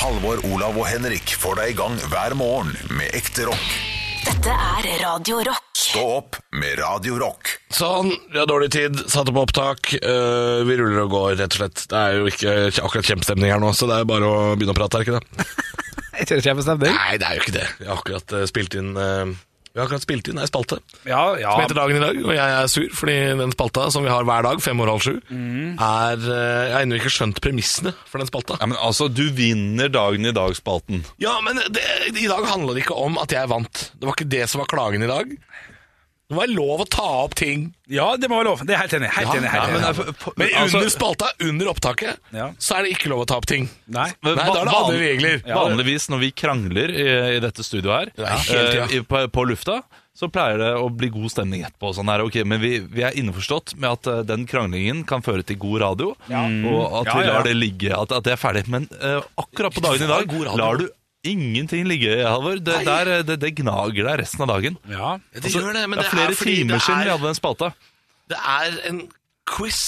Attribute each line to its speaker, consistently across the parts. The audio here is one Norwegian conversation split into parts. Speaker 1: Halvor, Olav og Henrik får deg i gang hver morgen med ekte rock.
Speaker 2: Dette er Radio Rock.
Speaker 1: Stå opp med Radio Rock.
Speaker 3: Sånn, vi har dårlig tid, satte på opptak. eh, vi ruller og går, rett og slett. Det er jo ikke akkurat kjempestemning her nå, så det er bare å begynne å prate, er det ikke det?
Speaker 4: Ikke det kjempestemning?
Speaker 3: Nei, det er jo ikke det. Vi har akkurat eh, spilt inn eh, Vi har akkurat spilt inn ei spalte
Speaker 4: Ja, ja.
Speaker 3: som heter Dagen i dag, og jeg er sur fordi den spalta som vi har hver dag, fem over halv sju, er eh, Jeg har ennå ikke skjønt premissene for den spalta.
Speaker 5: Ja, men altså, du vinner dagen i dag-spalten.
Speaker 3: Ja, men det, i dag handler det ikke om at jeg vant. Det var ikke det som var klagen i dag. Det var lov å ta opp ting.
Speaker 4: ja, det må være lov. Det er helt enig. Helt
Speaker 3: Ja,
Speaker 4: enig,
Speaker 3: ja,
Speaker 4: helt
Speaker 3: men
Speaker 4: enig.
Speaker 3: det er for- Men
Speaker 5: altså-
Speaker 3: under spalta, under opptaket,
Speaker 4: Ja.
Speaker 3: så er det ikke lov å ta opp ting.
Speaker 4: Nei.
Speaker 3: Nei, da er det
Speaker 5: Van-
Speaker 3: andre regler.
Speaker 4: Ja.
Speaker 5: Vanligvis når vi krangler i, i dette studioet her,
Speaker 3: Ja, helt, ja.
Speaker 5: eh, i- på, på lufta, så pleier det å bli god stemning etterpå. og Sånn her. Ok, men vi, vi er innforstått med at eh, den kranglingen kan føre til god radio,
Speaker 3: Mm.
Speaker 5: og at
Speaker 4: Ja,
Speaker 5: vi
Speaker 4: ja.
Speaker 5: lar det ligge, at, at det er ferdig. Men eh, akkurat på dagen i dag
Speaker 3: god radio.
Speaker 5: lar du ingenting ligge, Halvor. Det, der, eh, det, det gnager deg resten av dagen.
Speaker 4: Ja.
Speaker 3: Det
Speaker 5: Altså,
Speaker 3: gjør det, men
Speaker 5: det er flere
Speaker 3: fordi
Speaker 5: timer siden vi
Speaker 3: det er,
Speaker 5: hadde den spalta.
Speaker 3: det er en quiz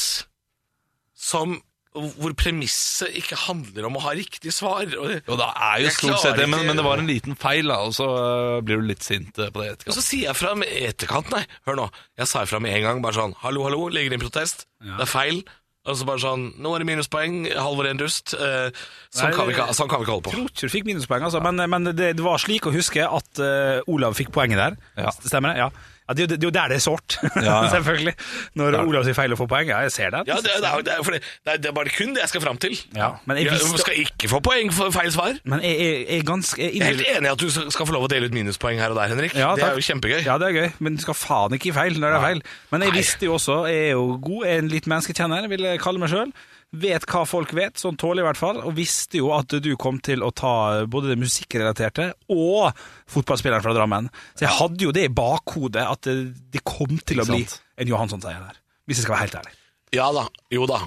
Speaker 3: som hvor premisset ikke handler om å ha riktig svar. Og, det-
Speaker 5: Jo, det er jo
Speaker 3: Jeg
Speaker 5: stort
Speaker 3: klarer
Speaker 5: sett det, men,
Speaker 3: ikke-
Speaker 5: men det var en liten feil, da, og så eh, blir du litt sint eh, på det etterkant.
Speaker 3: og så sier jeg fra med etterkant, nei, hør nå, jeg sa ifra med en gang, bare sånn, hallo, hallo, legger inn protest, det er feil, og så bare sånn, nå er det minuspoeng, Halvor er en dust, eh, sånn,
Speaker 4: Nei,
Speaker 3: kan vi, ikke- sånn kan vi ikke holde på.
Speaker 4: Jeg tror ikke du fikk minuspoeng, altså. Men, men det, det var slik å huske at eh, Olav fikk poenget der.
Speaker 5: Ja.
Speaker 4: S- Stemmer det? Ja. ja det, er jo- det er jo der det er sårt,
Speaker 5: ja.
Speaker 4: selvfølgelig. Når Olav sier feil og får poeng. Ja, jeg ser den.
Speaker 3: Ja, det, er- det, er, det, er, for det, det er- det er bare kun det jeg skal fram til.
Speaker 4: Ja, men jeg visste-
Speaker 3: skal ikke få poeng for feil svar.
Speaker 4: Men jeg jeg- jeg er ganske jeg
Speaker 3: Jeg er
Speaker 4: innrømmer-
Speaker 3: helt enig i at du skal få lov å dele ut minuspoeng her og der, Henrik.
Speaker 4: Ja,
Speaker 3: det er jo
Speaker 4: takk.
Speaker 3: kjempegøy.
Speaker 4: Ja, det er gøy, men du skal faen ikke gi feil når det er feil. Men jeg
Speaker 3: Nei.
Speaker 4: visste jo også, jeg er jo god, jeg er en litt menneskekjenner, vil jeg kalle meg sjøl. Vet hva folk vet, sånn tålig i hvert fall, og visste jo at du kom til å ta både det musikkrelaterte og fotballspilleren fra Drammen. Så jeg hadde jo det i bakhodet at det det kom til å bli
Speaker 5: sant?
Speaker 4: en Johansson-seier der, hvis jeg skal være helt ærlig.
Speaker 3: Ja da, jo da.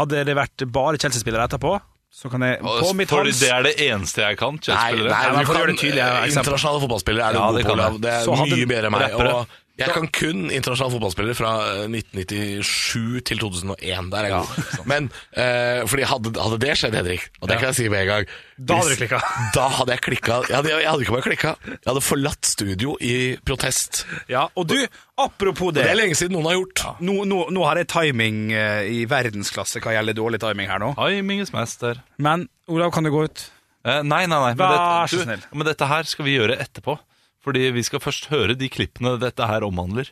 Speaker 4: Hadde det vært bare Chelsea-spillere etterpå, så kan jeg på mitt
Speaker 5: Fordi
Speaker 4: hans
Speaker 5: det er det eneste jeg kan. Chelsea-spillere.
Speaker 4: men
Speaker 3: du
Speaker 4: for å
Speaker 3: kan-
Speaker 4: gjøre det tydelig, ja, eksempel.
Speaker 3: internasjonale fotballspillere er du
Speaker 5: Ja,
Speaker 3: god
Speaker 5: det
Speaker 3: på,
Speaker 5: kan jeg.
Speaker 3: Olav. Det er
Speaker 4: Så hadde-
Speaker 3: mye bedre enn meg.
Speaker 5: Rappere.
Speaker 3: Og jeg kan kun internasjonale fotballspillere fra eh, 1997 til 2001. Der er jeg god. Men eh, fordi hadde, hadde det skjedd, Henrik, og det kan jeg si med en gang
Speaker 4: Da hadde
Speaker 3: hvis-
Speaker 4: du klikket.
Speaker 3: Da hadde jeg klikka. Jeg hadde, jeg hadde ikke bare klikka. Jeg hadde forlatt studio i protest.
Speaker 4: Ja, og du, apropos
Speaker 3: Det er lenge siden noen har gjort.
Speaker 4: Nå, nå, nå har jeg timing eh, i verdensklasse hva gjelder dårlig timing her nå.
Speaker 5: Timingens mester.
Speaker 4: Men Olav, kan du gå ut?
Speaker 5: Eh, nei, nei, nei. Men,
Speaker 4: Vær så
Speaker 5: du,
Speaker 4: snill.
Speaker 5: men dette her skal vi gjøre etterpå. Fordi vi skal først høre de klippene dette her omhandler,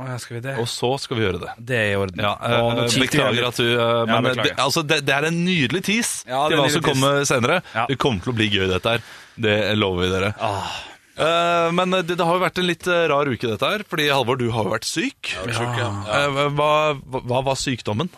Speaker 4: Å, ja, skal vi det?
Speaker 5: og så skal vi gjøre det.
Speaker 4: Det er i orden.
Speaker 5: Ja, eh,
Speaker 4: Å, nå kikker jeg
Speaker 5: beklager
Speaker 4: litt.
Speaker 5: at du eh, Men
Speaker 4: beklager.
Speaker 5: Det, altså, det, det er en nydelig tease
Speaker 4: Ja, det er
Speaker 5: til hva
Speaker 4: en
Speaker 5: som
Speaker 4: nydelig
Speaker 5: kommer senere.
Speaker 4: Ja.
Speaker 5: Det kommer til å bli gøy, dette her. Det lover vi dere.
Speaker 4: Ah.
Speaker 5: Eh, men det, det har jo vært en litt eh, rar uke, dette her. Fordi Halvor, du har jo vært syk. Eh, hva, hva, hva var sykdommen?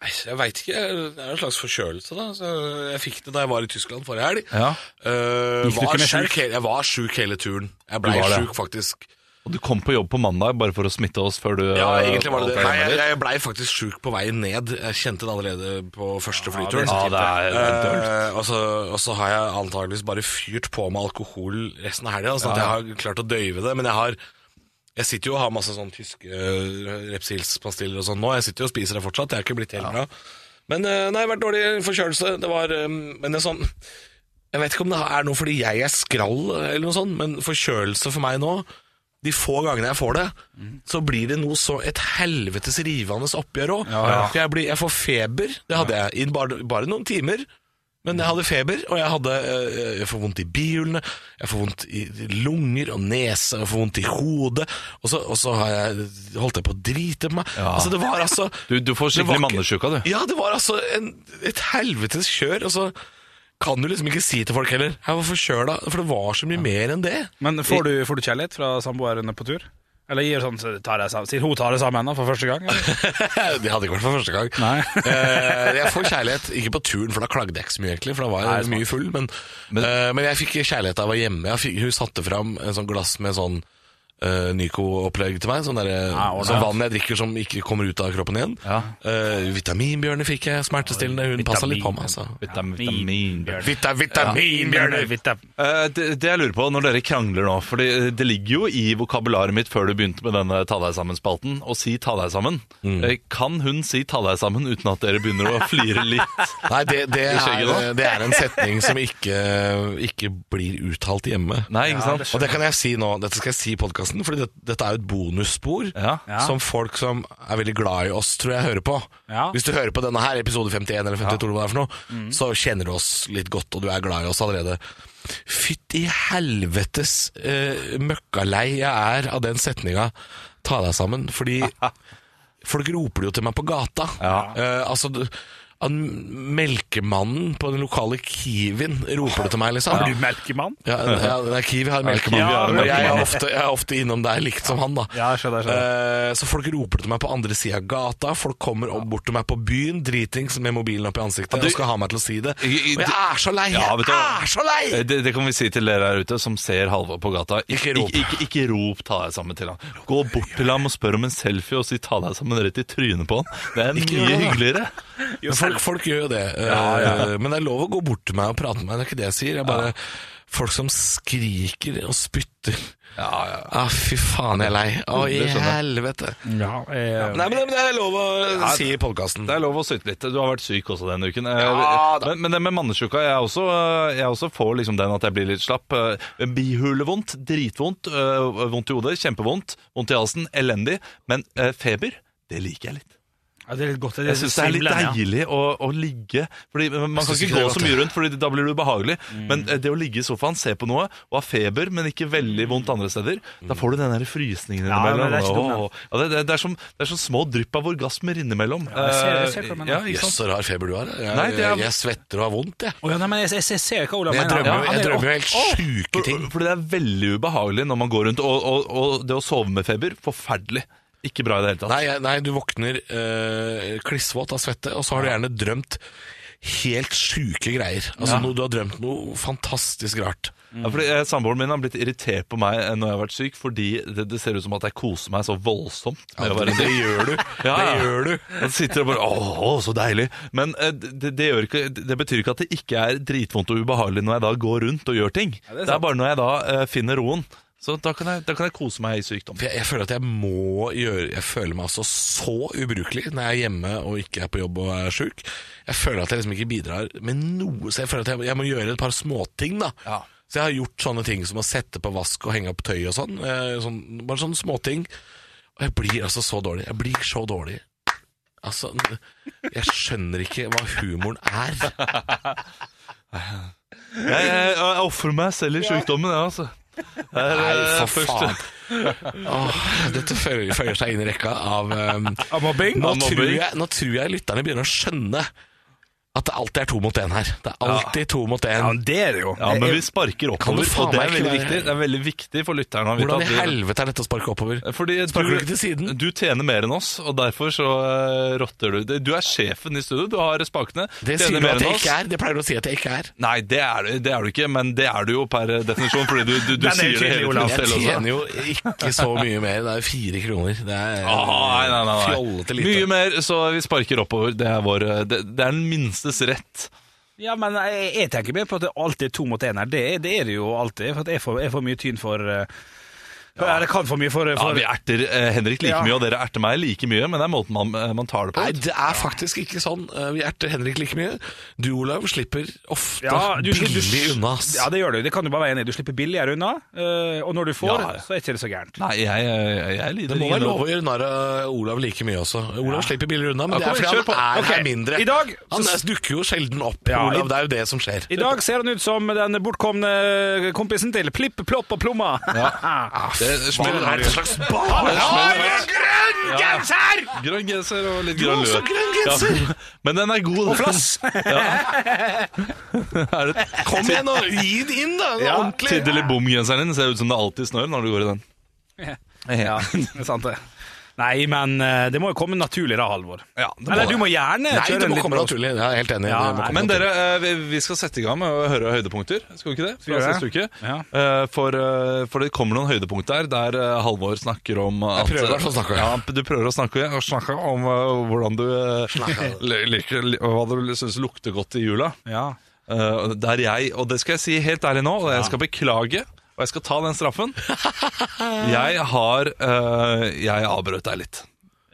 Speaker 3: Nei, Jeg veit ikke. Det er en slags forkjølelse, da. Så jeg fikk det da jeg var i Tyskland forrige helg.
Speaker 5: Ja.
Speaker 3: Eh,
Speaker 4: Gikk du
Speaker 3: var
Speaker 4: ikke med
Speaker 3: sjuk
Speaker 4: skjerf?
Speaker 3: hele, jeg var sjuk hele turen. Jeg blei
Speaker 5: Du var det.
Speaker 3: sjuk, faktisk.
Speaker 5: Og du kom på jobb på mandag bare for å smitte oss før du
Speaker 3: Ja,
Speaker 5: eh,
Speaker 3: egentlig var det det.
Speaker 5: holdt deg
Speaker 3: Nei,
Speaker 5: hjemme
Speaker 3: jeg,
Speaker 5: litt.
Speaker 3: jeg blei faktisk sjuk på vei ned. Jeg kjente det allerede på første flyturen.
Speaker 5: Ja, det er, det er dølt.
Speaker 3: Eh, og, så, og så har jeg antageligvis bare fyrt på med alkohol resten av helga, sånn at jeg har klart å døyve det. Men jeg har jeg sitter jo og har masse sånn tyske eh, Repsils-pastiller og sånn nå. Jeg sitter jo og spiser det fortsatt. Jeg har ikke blitt helt bra. Men eh, nei, det har vært dårlig forkjølelse. Det var eh, Men det er sånn Jeg vet ikke om det er noe fordi jeg er skrall eh, eller noe sånt, men forkjølelse for meg nå de få gangene jeg får det, så blir det noe så et helvetes rivende oppgjør òg. For jeg, blir- jeg får feber. Det hadde jeg i bare, bare noen timer. Men jeg hadde feber, og jeg hadde eh, Jeg får vondt i bihulene, jeg får vondt i lunger og nese, jeg får vondt i hodet, og så, og så har jeg holdt jeg på å drite på meg. Altså, det var altså
Speaker 5: Du,
Speaker 3: det
Speaker 5: du får
Speaker 3: var
Speaker 5: skikkelig
Speaker 3: ikke-
Speaker 5: mannesjuka, du.
Speaker 3: Ja, det var altså en, et helvetes kjør, og så kan du liksom ikke si til folk heller Jeg var forkjøla, for det var så mye mer enn det.
Speaker 4: Men får du, får du kjærlighet fra samboerne på tur? Eller gir sånn, så tar jeg, sammen- sier hun tar det sammen da, for første gang? eller?
Speaker 3: det hadde ikke vært for første gang.
Speaker 4: Nei.
Speaker 3: Eh, jeg får kjærlighet, ikke på turen, for da klagde jeg ikke så mye, egentlig, for da var jeg
Speaker 4: Nei,
Speaker 3: mye eh, full. Men, men, men jeg fikk kjærlighet da jeg var hjemme. Jeg fikk, hun satte fram en sånn glass med sånn eh, Nyco-opplegg til meg. Sånn der, eh,
Speaker 4: Ja, ordentlig.
Speaker 3: sånn vann jeg drikker som ikke kommer ut av kroppen igjen.
Speaker 5: Ja.
Speaker 3: Eh, vitaminbjørne fikk jeg, smertestillende. Eh, Hun passa litt på meg. Altså.
Speaker 5: Vitam- Vitamin.
Speaker 3: Vita, vitaminbjørne!
Speaker 5: Eh, det, det jeg lurer på når dere krangler nå, for det, det ligger jo i vokabularet mitt før du begynte med denne ta deg sammen-spalten, å si ta deg sammen.
Speaker 3: Mm.
Speaker 5: Eh, Kan hun si ta deg sammen uten at dere begynner å flire litt?
Speaker 3: Nei, det, det,
Speaker 5: skjegget
Speaker 3: er,
Speaker 5: da?
Speaker 3: det er en setning som ikke, ikke blir uttalt hjemme.
Speaker 5: Nei, ikke sant?
Speaker 3: Og det kan jeg si nå, dette skal jeg si i podkasten, for dette, dette er jo et bonusspor
Speaker 5: Ja.
Speaker 4: Ja.
Speaker 3: som folk som er veldig glad i oss, tror jeg hører på.
Speaker 4: Ja.
Speaker 3: Hvis du hører på denne her, episode 51 eller 52, eller hva det er for noe, så kjenner du oss litt godt, og du er glad i oss allerede. Fytti helvetes eh, møkkalei jeg er av den setninga 'ta deg sammen', fordi folk roper det jo til meg på gata.
Speaker 5: Ja.
Speaker 3: Eh, altså, du- han melkemannen på den lokale Kiwin roper det til meg, liksom.
Speaker 4: Blir du melkemann?
Speaker 3: Ja, ja, nei, Kiwi har melkemann.
Speaker 5: Kiwi har en
Speaker 3: og jeg, er
Speaker 5: melkemann.
Speaker 3: ofte, jeg er ofte innom der likt som han, da.
Speaker 4: Ja, jeg skjønner, jeg
Speaker 3: Eh, så folk roper til meg på andre sida av gata. Folk kommer opp bort til meg på byen, dritings med mobilen opp i ansiktet, og skal ha meg til å si det.
Speaker 5: I- i-
Speaker 3: Og jeg er så lei!
Speaker 5: Ja,
Speaker 3: Jeg
Speaker 5: vet du hva?
Speaker 3: er så lei!
Speaker 5: Eh, Det, det kan vi si til dere her ute som ser Halvor på gata.
Speaker 3: Ikke rop.
Speaker 5: Ikke, ikke, ikke rop 'ta deg sammen' til han. Gå bort til ham og spør om en selfie og si 'ta deg sammen' rett i trynet på han. Det er
Speaker 3: Ikke gjør
Speaker 5: mye
Speaker 3: det, da.
Speaker 5: hyggeligere.
Speaker 3: Men folk, folk gjør jo det. eh, Men det er lov å gå bort til meg og prate med meg, det er ikke det jeg sier. Jeg bare, Folk som skriker og spytter.
Speaker 5: Ja, ja.
Speaker 3: Ah, fy faen, jeg er lei. Å, i
Speaker 5: Det skjønner jeg.
Speaker 3: helvete.
Speaker 4: Ja, eh,
Speaker 3: Nei, men det- men det er lov å si i podkasten.
Speaker 5: Det er lov å syte litt. Du har vært syk også denne uken. Eh,
Speaker 3: Ja, da.
Speaker 5: men, men det med mannesjuka, jeg også, eh, jeg også får liksom den at jeg blir litt slapp. Eh, Bihulevondt, dritvondt, eh, vondt i hodet, kjempevondt, vondt i halsen, elendig. Men eh, feber, det liker jeg litt.
Speaker 4: ja, det er litt godt. Det er
Speaker 5: Jeg syns det er litt
Speaker 4: svimlende, ja.
Speaker 5: deilig å, å ligge Fordi Man kan
Speaker 3: synes
Speaker 5: ikke
Speaker 3: ikke det
Speaker 5: gå
Speaker 3: er
Speaker 5: så
Speaker 3: godt,
Speaker 5: mye rundt, Fordi da blir du behagelig.
Speaker 4: Mm.
Speaker 5: Men eh, det å ligge i sofaen, se på noe og ha feber, men ikke veldig vondt andre steder, da får du den der frysningen
Speaker 4: Mm. Ja, men
Speaker 5: innimellom.
Speaker 4: det er ikke dumt,
Speaker 5: Åh, ja, det, det, det, er som, det er som små drypp av orgasmer innimellom. Eh,
Speaker 4: jeg ser- jeg ser på meg nå.
Speaker 5: ja, ikke
Speaker 3: Jøss,
Speaker 5: sant?
Speaker 3: så rar feber du har. Jeg,
Speaker 5: Nei, det er-
Speaker 3: jeg svetter og har vondt, jeg.
Speaker 4: Å, ja, nei, men jeg, jeg, jeg ser hva Olav
Speaker 3: Men jeg
Speaker 4: mener.
Speaker 3: drømmer,
Speaker 4: Ja,
Speaker 3: jo-
Speaker 4: han
Speaker 3: jeg
Speaker 4: er-
Speaker 3: drømmer jo helt sjuke ting.
Speaker 5: For, fordi det er veldig ubehagelig når man går rundt, og, og, og det å sove med feber, forferdelig. Ikke bra i det hele tatt.
Speaker 3: Nei, jeg- nei du våkner øh, klissvåt av svette, og så har du gjerne drømt helt sjuke greier. Altså noe, Du har drømt noe fantastisk rart.
Speaker 5: Ja, fordi eh, Samboeren min har blitt irritert på meg eh, når jeg har vært syk, fordi det, det ser ut som at jeg koser meg så voldsomt. når jeg
Speaker 3: det,
Speaker 5: bare-
Speaker 3: det gjør du.
Speaker 5: Ja,
Speaker 3: Det
Speaker 5: ja.
Speaker 3: gjør du.
Speaker 5: Jeg sitter og bare Åh, så deilig. Men eh, det, det, gjør ikke, det betyr ikke at det ikke er dritvondt og ubehagelig når jeg da går rundt og gjør ting. det, er bare når jeg da eh, finner roen. Så da kan, jeg, da kan jeg kose meg i sykdom.
Speaker 3: For jeg, jeg føler at jeg må gjøre Jeg føler meg altså så ubrukelig når jeg er hjemme og ikke er på jobb og er sjuk. Jeg føler at jeg liksom ikke bidrar med noe, så jeg føler at jeg, jeg må gjøre et par småting, da.
Speaker 5: Ja.
Speaker 3: Så jeg har gjort sånne ting som å sette på vask og henge opp tøy og sånn. eh, sånn bare sånne småting. Og jeg blir altså så dårlig. Jeg blir så dårlig. Altså, jeg skjønner ikke hva humoren er.
Speaker 5: Jeg, jeg, jeg ofrer meg selv i sykdommen, jeg, altså. Det er,
Speaker 3: Nei,
Speaker 5: eh,
Speaker 3: for
Speaker 5: først-
Speaker 3: faen. Åh, dette føyer føyer seg inn i rekka av um,
Speaker 4: Av mobbing?
Speaker 3: Nå
Speaker 5: Av mobbing.
Speaker 3: tror, jeg, nå tror jeg lytterne begynner å skjønne at det alltid er to mot én her. Det er alltid to mot
Speaker 4: Ja,
Speaker 3: én.
Speaker 4: men det er det jo.
Speaker 5: Ja, men vi sparker
Speaker 3: Kan du
Speaker 5: oppover,
Speaker 3: faen
Speaker 5: og det
Speaker 3: meg
Speaker 5: er
Speaker 3: ikke
Speaker 5: veldig
Speaker 3: være-
Speaker 5: viktig. Det er veldig viktig for lytterne å vite
Speaker 3: Hvordan i
Speaker 5: at du-
Speaker 3: helvete er dette å sparke oppover?
Speaker 5: Fordi
Speaker 3: Sparker du ikke til siden?
Speaker 5: Du tjener mer enn oss, og derfor så eh, rotter du. Du er sjefen i studio, du har spakene.
Speaker 3: Det
Speaker 5: tjener
Speaker 3: sier du
Speaker 5: mer
Speaker 3: at
Speaker 5: enn
Speaker 3: jeg
Speaker 5: oss.
Speaker 3: ikke er. Det pleier du å si at jeg ikke er.
Speaker 5: Nei, det er, du- det er du ikke, men det er du jo per definisjon, fordi du, du, du
Speaker 4: Den er jo
Speaker 5: sier det
Speaker 4: tydelig,
Speaker 5: hele
Speaker 4: Olav.
Speaker 5: tiden
Speaker 3: Jeg
Speaker 5: selv også.
Speaker 3: tjener jo ikke så mye mer. Det er jo fire kroner. Det er
Speaker 5: Ah, nei, nei, nei, nei.
Speaker 3: fjollete lite.
Speaker 5: Mye mer, så vi sparker oppover. Det er, vår, eh, det, det er den minstes rett.
Speaker 4: Ja, men jeg, jeg tenker mer på at det alltid er to mot én her. Det, er- det er det jo alltid. For at jeg, får, jeg får mye tyn for eh, Eller kan få mye for,
Speaker 5: Ja,
Speaker 4: for
Speaker 5: vi erter eh, Henrik like
Speaker 4: Ja.
Speaker 5: mye, og dere erter meg like mye, men det er måten man, eh, man tar det på.
Speaker 3: Nei, det er faktisk ikke sånn. Eh, Vi erter Henrik like mye. Du, Olav, slipper ofte
Speaker 4: Ja, du- du- du-
Speaker 3: billig unna. ass.
Speaker 4: Ja, det gjør du. Det kan du bare være enig i. Du slipper billigere unna, eh, og når du får,
Speaker 5: Ja, ja.
Speaker 4: så er ikke det så gærent.
Speaker 5: Nei, jeg, jeg, jeg lider
Speaker 3: Det må være
Speaker 5: ingen-
Speaker 3: lov å gjøre narr av Olav like mye også. Olav slipper billigere unna, men det
Speaker 5: Ja, kom
Speaker 3: er fordi
Speaker 5: igjen, kjør
Speaker 3: han er
Speaker 4: på.
Speaker 3: her
Speaker 4: Ok,
Speaker 3: mindre.
Speaker 4: i dag-
Speaker 3: han er- dukker jo sjelden opp,
Speaker 4: Ja, i-
Speaker 3: Olav. Det er jo det som skjer.
Speaker 4: I dag ser han ut som den bortkomne eh, kompisen til Plipp, Plopp og Plomma.
Speaker 5: Det smeller
Speaker 3: er et slags barn!
Speaker 5: Ja, jeg har
Speaker 3: grønn genser!
Speaker 5: Grønn genser og litt grønn
Speaker 3: også
Speaker 5: løk.
Speaker 3: grønn genser!
Speaker 5: Ja, men den er god. Og flass! er det
Speaker 3: Kom igjen, nå! Gi det inn, da!
Speaker 5: ja,
Speaker 3: ordentlig.
Speaker 5: Tiddeli bom-genseren din ser ut som det alltid snør når du går i den.
Speaker 4: Ja, det er sant det. Nei, men eh, det må jo komme naturlig da, Halvor.
Speaker 5: Ja, det må
Speaker 4: Eller
Speaker 5: det.
Speaker 4: du må gjerne
Speaker 3: Nei,
Speaker 4: kjøre
Speaker 3: det
Speaker 4: en
Speaker 3: må
Speaker 4: liten
Speaker 3: komme naturlig. Jeg er helt enig.
Speaker 4: Ja,
Speaker 3: det må
Speaker 4: nei,
Speaker 3: komme
Speaker 5: Men
Speaker 3: naturlig.
Speaker 5: dere, eh, vi- vi skal sette i gang med å høre høydepunkter. Skal vi ikke det?
Speaker 4: vi
Speaker 5: Fra
Speaker 4: gjøre
Speaker 5: siste uke.
Speaker 4: det? Ja.
Speaker 5: Eh, For, eh, for det kommer noen høydepunkt der der eh, Halvor snakker om at
Speaker 3: prøver i hvert fall å snakke.
Speaker 5: Ja, du prøver å snakke, å snakke om eh, hvordan du eh, li- liker li- Hva du syns lukter godt i jula.
Speaker 4: Ja.
Speaker 5: Eh, Der jeg, og det skal jeg si helt ærlig nå, og jeg skal beklage. Og jeg skal ta den straffen. Jeg har eh, Jeg avbrøt deg litt.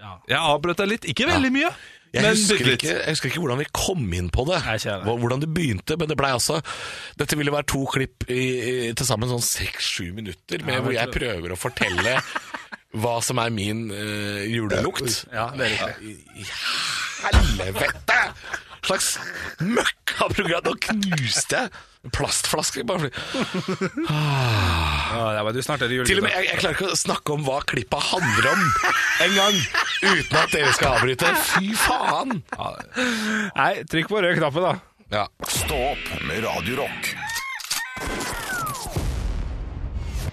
Speaker 4: Ja.
Speaker 5: Jeg avbrøt deg litt. Ikke veldig mye,
Speaker 3: Jeg
Speaker 5: men
Speaker 3: husker,
Speaker 5: bitte litt.
Speaker 3: ikke, jeg husker ikke hvordan vi kom inn på det.
Speaker 4: Nei, ikke jeg heller.
Speaker 3: Hvor- Hvordan det begynte, men det blei altså Dette ville være to klipp i, i, til sammen sånn seks-sju minutter med hvor jeg prøver å fortelle hva som er min eh, julelukt. Ja, det er riktig. I helvete! Slags møkkaprogram! Nå knuste jeg en plastflaske. Bare fordi.
Speaker 4: Ja, det var- du snart er det jul.
Speaker 3: Til og med jeg, jeg klarer ikke å snakke om hva klippa handler om engang, uten at dere skal avbryte. Fy faen!
Speaker 4: Nei, trykk på rød knappe, da.
Speaker 3: Ja.
Speaker 1: Stå opp med Radio Rock.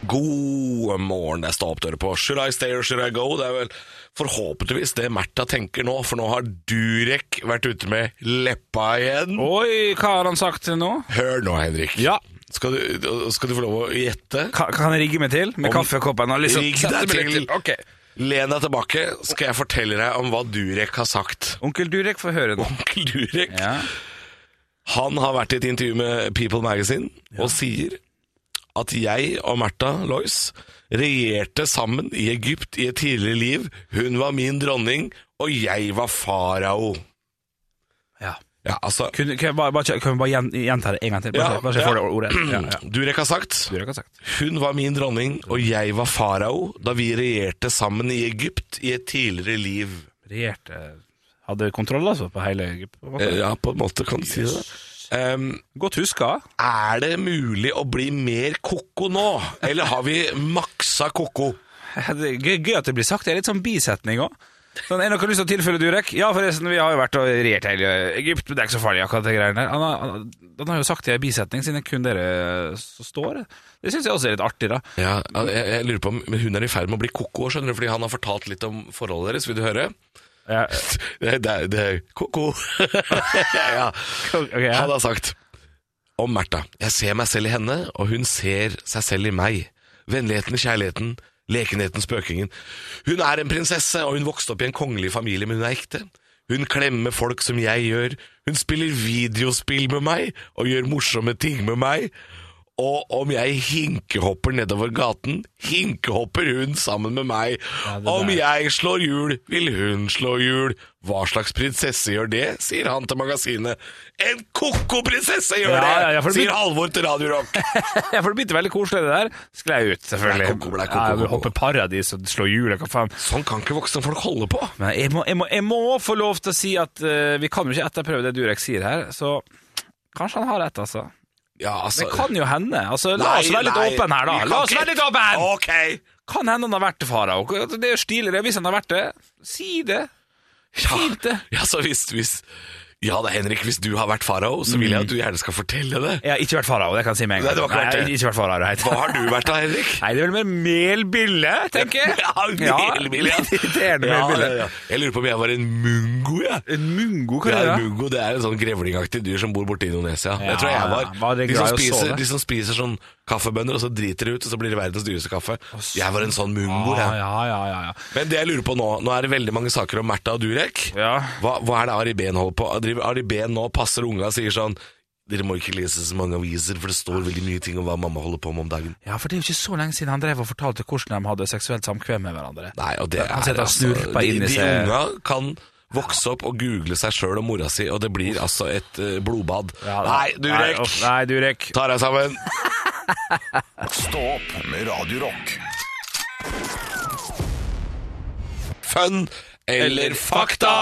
Speaker 3: God morgen, jeg står opp dere på Should I stay or should I go? Det er vel forhåpentligvis det Märtha tenker nå, for nå har Durek vært ute med leppa igjen.
Speaker 4: Oi, hva har han sagt nå?
Speaker 3: Hør nå, Henrik.
Speaker 4: Ja.
Speaker 3: Skal du, skal du få lov å gjette?
Speaker 4: Kan, kan jeg rigge meg til med
Speaker 3: Om-
Speaker 4: kaffekoppen? og liksom-
Speaker 3: Rigg
Speaker 4: Sette
Speaker 3: deg
Speaker 4: meg litt
Speaker 3: til.
Speaker 4: Ok.
Speaker 3: Len deg tilbake, skal jeg fortelle deg om hva Durek har sagt.
Speaker 4: Onkel Durek får høre nå.
Speaker 3: Onkel Durek
Speaker 4: Ja.
Speaker 3: han har vært i et intervju med People Magazine og sier at jeg og Märtha Lois regjerte sammen i Egypt i et tidligere liv. Hun var min dronning, og jeg var farao.
Speaker 4: ja.
Speaker 3: Ja, altså
Speaker 4: Kunne, kan jeg bare, bare, kan jeg bare gjen- gjenta det en gang til? Bare,
Speaker 3: Ja,
Speaker 4: så- bare så jeg
Speaker 3: ja.
Speaker 4: får det ordet. Ja, ja.
Speaker 3: Durek har sagt
Speaker 4: Durek har sagt.
Speaker 3: hun var min dronning, og jeg var farao da vi regjerte sammen i Egypt i et tidligere liv.
Speaker 4: Regjerte Hadde kontroll, altså, på hele Egypt.
Speaker 3: Eh, Ja, på en måte kan du si det. Um,
Speaker 4: Godt huska.
Speaker 3: er det mulig å bli mer koko nå, eller har vi maksa koko?
Speaker 4: Det er gøy, gøy at det blir sagt. Det er litt sånn bisetning òg. Sånn, er det noe lyst til å tilfelle Durek? Ja, forresten, vi har jo vært og regjert hele Egypt. men Det er ikke så farlig, akkurat det greiene der. Han har, han, han har jo sagt det i en bisetning, siden det er kun dere som står. Det syns jeg også er litt artig, da.
Speaker 3: Ja, jeg, jeg lurer på om men hun er i ferd med å bli koko, skjønner du, fordi han har fortalt litt om forholdet deres. Vil du høre? Eh,
Speaker 4: Ja,
Speaker 3: Det, det, det er koko. ja.
Speaker 4: ok, ja.
Speaker 3: Han har sagt om Märtha. Jeg ser meg selv i henne, og hun ser seg selv i meg. Vennligheten, kjærligheten, lekenheten, spøkingen. Hun er en prinsesse, og hun vokste opp i en kongelig familie, men hun er ekte. Hun klemmer folk som jeg gjør. Hun spiller videospill med meg, og gjør morsomme ting med meg. Og om jeg hinkehopper nedover gaten, hinkehopper hun sammen med meg.
Speaker 4: det der.
Speaker 3: om jeg slår hjul, vil hun slå hjul. Hva slags prinsesse gjør det, sier han til magasinet. En koko prinsesse gjør
Speaker 4: Ja,
Speaker 3: det,
Speaker 4: ja, ja, for det blir-
Speaker 3: sier Halvor til Radio Rock.
Speaker 4: Ja, for det begynte veldig koselig, det der. Sklei ut, selvfølgelig.
Speaker 3: Blei koko, blei koko,
Speaker 4: Ja, jeg vil
Speaker 3: koko.
Speaker 4: hoppe paradis og slå hjulet, hva faen.
Speaker 3: sånn kan ikke voksne folk holde på.
Speaker 4: Men jeg må, jeg må, jeg må få lov til å si at eh, vi kan jo ikke etterprøve det Durek sier her, så kanskje han har rett, altså.
Speaker 3: Ja, altså...
Speaker 4: Det kan jo hende. Altså, la oss
Speaker 3: Nei,
Speaker 4: være litt
Speaker 3: nei,
Speaker 4: åpen her, da.
Speaker 3: vi kan
Speaker 4: La oss
Speaker 3: ikke-
Speaker 4: være litt åpen!
Speaker 3: Ok!
Speaker 4: Kan hende han har vært det, farao. Det er jo stilig. det. Hvis han har vært det, si det. Fint, det.
Speaker 3: Ja, så hvis, hvis... Ja da, Henrik, hvis du har vært farao, så vil jeg at du gjerne skal fortelle det.
Speaker 4: Jeg har ikke vært farao, det kan jeg si med en gang.
Speaker 3: Nei, det var ikke
Speaker 4: Nei,
Speaker 3: verdt det.
Speaker 4: jeg har ikke vært farao, right.
Speaker 3: Hva har du vært da, Henrik?
Speaker 4: Nei, det er vel mer melbille, tenker jeg.
Speaker 3: Ja, melbille, ja.
Speaker 4: Irriterende
Speaker 3: Ja,
Speaker 4: melbille.
Speaker 3: ja, ja. Jeg lurer på om jeg var en mungo, jeg.
Speaker 4: En mungo, hva
Speaker 3: Ja,
Speaker 4: er det? da?
Speaker 3: Mungo det er en sånn grevlingaktig dyr som bor borte i Indonesia.
Speaker 4: Ja,
Speaker 3: jeg tror jeg var.
Speaker 4: ja. Var det
Speaker 3: de, som
Speaker 4: glad i å
Speaker 3: spiser,
Speaker 4: sove?
Speaker 3: de som spiser sånn kaffebønner, og så driter de ut, og så blir det verdens dyreste kaffe. Jeg var en sånn mungo,
Speaker 4: Ja,
Speaker 3: jeg.
Speaker 4: ja, ja, ja, ja.
Speaker 3: Men det jeg lurer på nå, nå er det veldig mange saker om Märtha og Durek.
Speaker 4: Ja.
Speaker 3: Hva, hva er det Ari Behn holder på Driver Ari Behn nå passer unga og sier sånn Dere må ikke lese så mange aviser, for det står veldig mye ting om hva mamma holder på med om dagen.
Speaker 4: Ja, for det er jo ikke så lenge siden han drev og fortalte hvordan de hadde seksuelt samkvem med hverandre.
Speaker 3: Nei, og det er altså-
Speaker 4: Han sitter og snurper
Speaker 3: de,
Speaker 4: inn i
Speaker 3: de
Speaker 4: seg-
Speaker 3: unga kan vokse opp og google seg sjøl og mora si, og det blir altså et eh, blodbad.
Speaker 4: Ja, da.
Speaker 3: Nei, Durek!
Speaker 4: Nei, uff, Nei, Durek.
Speaker 3: Ta deg sammen.
Speaker 1: Stå opp med Radio Rock.
Speaker 3: Fun eller fakta?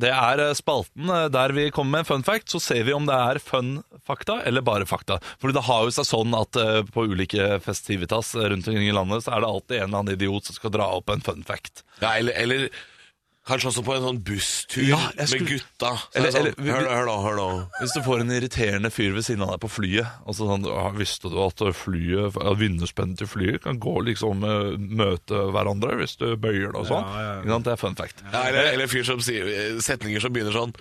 Speaker 5: Det er eh, spalten eh, der vi kommer med en fun fact, så ser vi om det er fun fakta eller bare fakta. For det har jo seg sånn at eh, på ulike festivitas eh, rundt omkring i landet, så er det alltid en eller annen idiot som skal dra opp en fun fact.
Speaker 3: Ja, eller, eller Kanskje også på en sånn busstur
Speaker 5: Ja, jeg skulle-
Speaker 3: med gutta. Så
Speaker 5: Eller-
Speaker 3: er det sånn,
Speaker 5: eller- vi-
Speaker 3: hør, da, hør, da, hør, da.
Speaker 5: Hvis du får en irriterende fyr ved siden av deg på flyet og så sånn, «Å, Visste du at flyet, at vindurspennet til flyet kan gå liksom eh, møte hverandre hvis du bøyer det og sånn?
Speaker 4: Ja, ja, ja.
Speaker 5: Ikke sant? Det er fun fact.
Speaker 3: Ja, eller, eller fyr som sier setninger som begynner sånn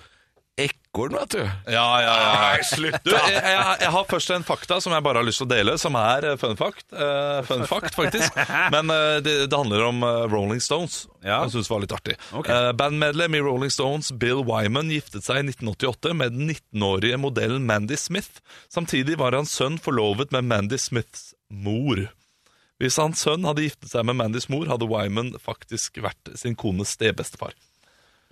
Speaker 3: Ekorn, vet du.
Speaker 5: Ja, ja,
Speaker 3: Nei, slutt,
Speaker 5: Du,
Speaker 3: da!
Speaker 5: jeg, jeg, jeg har først en fakta som jeg bare har lyst til å dele, som er eh, fun fact. eh, fun fact, faktisk. Men eh, det, det handler om eh, Rolling Stones.
Speaker 4: Ja.
Speaker 5: Jeg synes det var litt artig.
Speaker 4: Ok.
Speaker 5: Eh, bandmedlem i Rolling Stones, Bill Wyman, giftet seg i 1988 med den 19-årige modellen Mandy Smith. Samtidig var hans sønn forlovet med Mandy Smiths mor. Hvis hans sønn hadde giftet seg med Mandys mor, hadde Wyman faktisk vært sin kones stebestefar.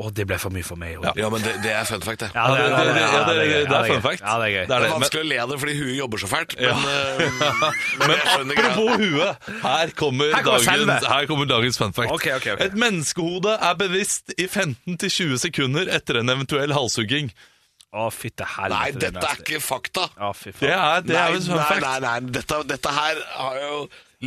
Speaker 4: Å, det ble for mye for meg.
Speaker 3: Ja, men det, det er fun fact, det.
Speaker 4: Ja, det-
Speaker 5: det, det,
Speaker 4: ja,
Speaker 5: det,
Speaker 4: det er gøy. Ja,
Speaker 5: det er
Speaker 4: det er
Speaker 5: fun
Speaker 4: gøy.
Speaker 5: fact.
Speaker 4: Ja, det er gøy.
Speaker 3: Det er
Speaker 5: men-
Speaker 3: vanskelig å le av det fordi hun jobber så fælt, men,
Speaker 5: Ja.
Speaker 3: eh, men jeg skjønner greia.
Speaker 5: Apropos huet, her kommer,
Speaker 4: Her kommer selve.
Speaker 5: dagens, her kommer dagens fun fact.
Speaker 4: Ok, ok, ok.
Speaker 5: Et menneskehode er bevisst i 15-20 sekunder etter en eventuell halshugging.
Speaker 4: Å, fytte helvete.
Speaker 3: Nei,
Speaker 4: det
Speaker 3: dette er ikke fakta.
Speaker 4: Å, fy
Speaker 5: Det
Speaker 4: faen.
Speaker 5: er, det
Speaker 3: nei,
Speaker 5: er jo en fun
Speaker 3: nei,
Speaker 5: fact.
Speaker 3: nei, nei. Dette, dette her har jeg jo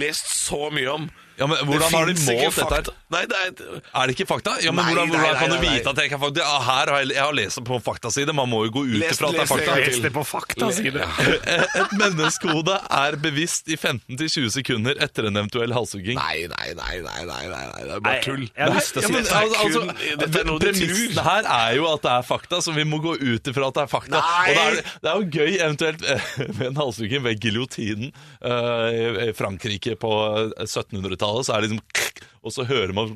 Speaker 3: lest så mye om.
Speaker 5: Ja, men hvordan har de
Speaker 3: finnes ikke
Speaker 5: målt dette?
Speaker 3: fakta.
Speaker 5: her?
Speaker 3: Nei, det er,
Speaker 5: Er det ikke fakta? Ja, men
Speaker 3: Nei,
Speaker 5: Hvordan,
Speaker 3: nei,
Speaker 5: hvordan
Speaker 3: nei,
Speaker 5: kan du
Speaker 3: nei, nei.
Speaker 5: vite at jeg kan fakta? Ja, her har jeg, jeg har lest det på faktaside. Man må jo gå ut
Speaker 3: Les-
Speaker 5: ifra at det er
Speaker 3: les det
Speaker 5: fakta.
Speaker 3: en gang
Speaker 4: Les det på fakta, sier du.
Speaker 5: Et menneskehode er bevisst i 15-20 sekunder etter en eventuell halshugging.
Speaker 3: nei, nei, nei, nei, nei, nei, nei, det er
Speaker 4: Nei,
Speaker 3: bare tull. altså,
Speaker 4: jeg har lyst til å si
Speaker 5: men
Speaker 4: det.
Speaker 3: Dette er kun- dette er noe de
Speaker 5: Premissen
Speaker 3: tror.
Speaker 5: her er jo at det er fakta, så vi må gå ut ifra at det er fakta.
Speaker 3: Nei!
Speaker 5: Og det er, det er jo gøy eventuelt eh, med en halshugging ved giljotinen eh, i- i Frankrike på eh, 1700-tallet. Så er det liksom Og så hører man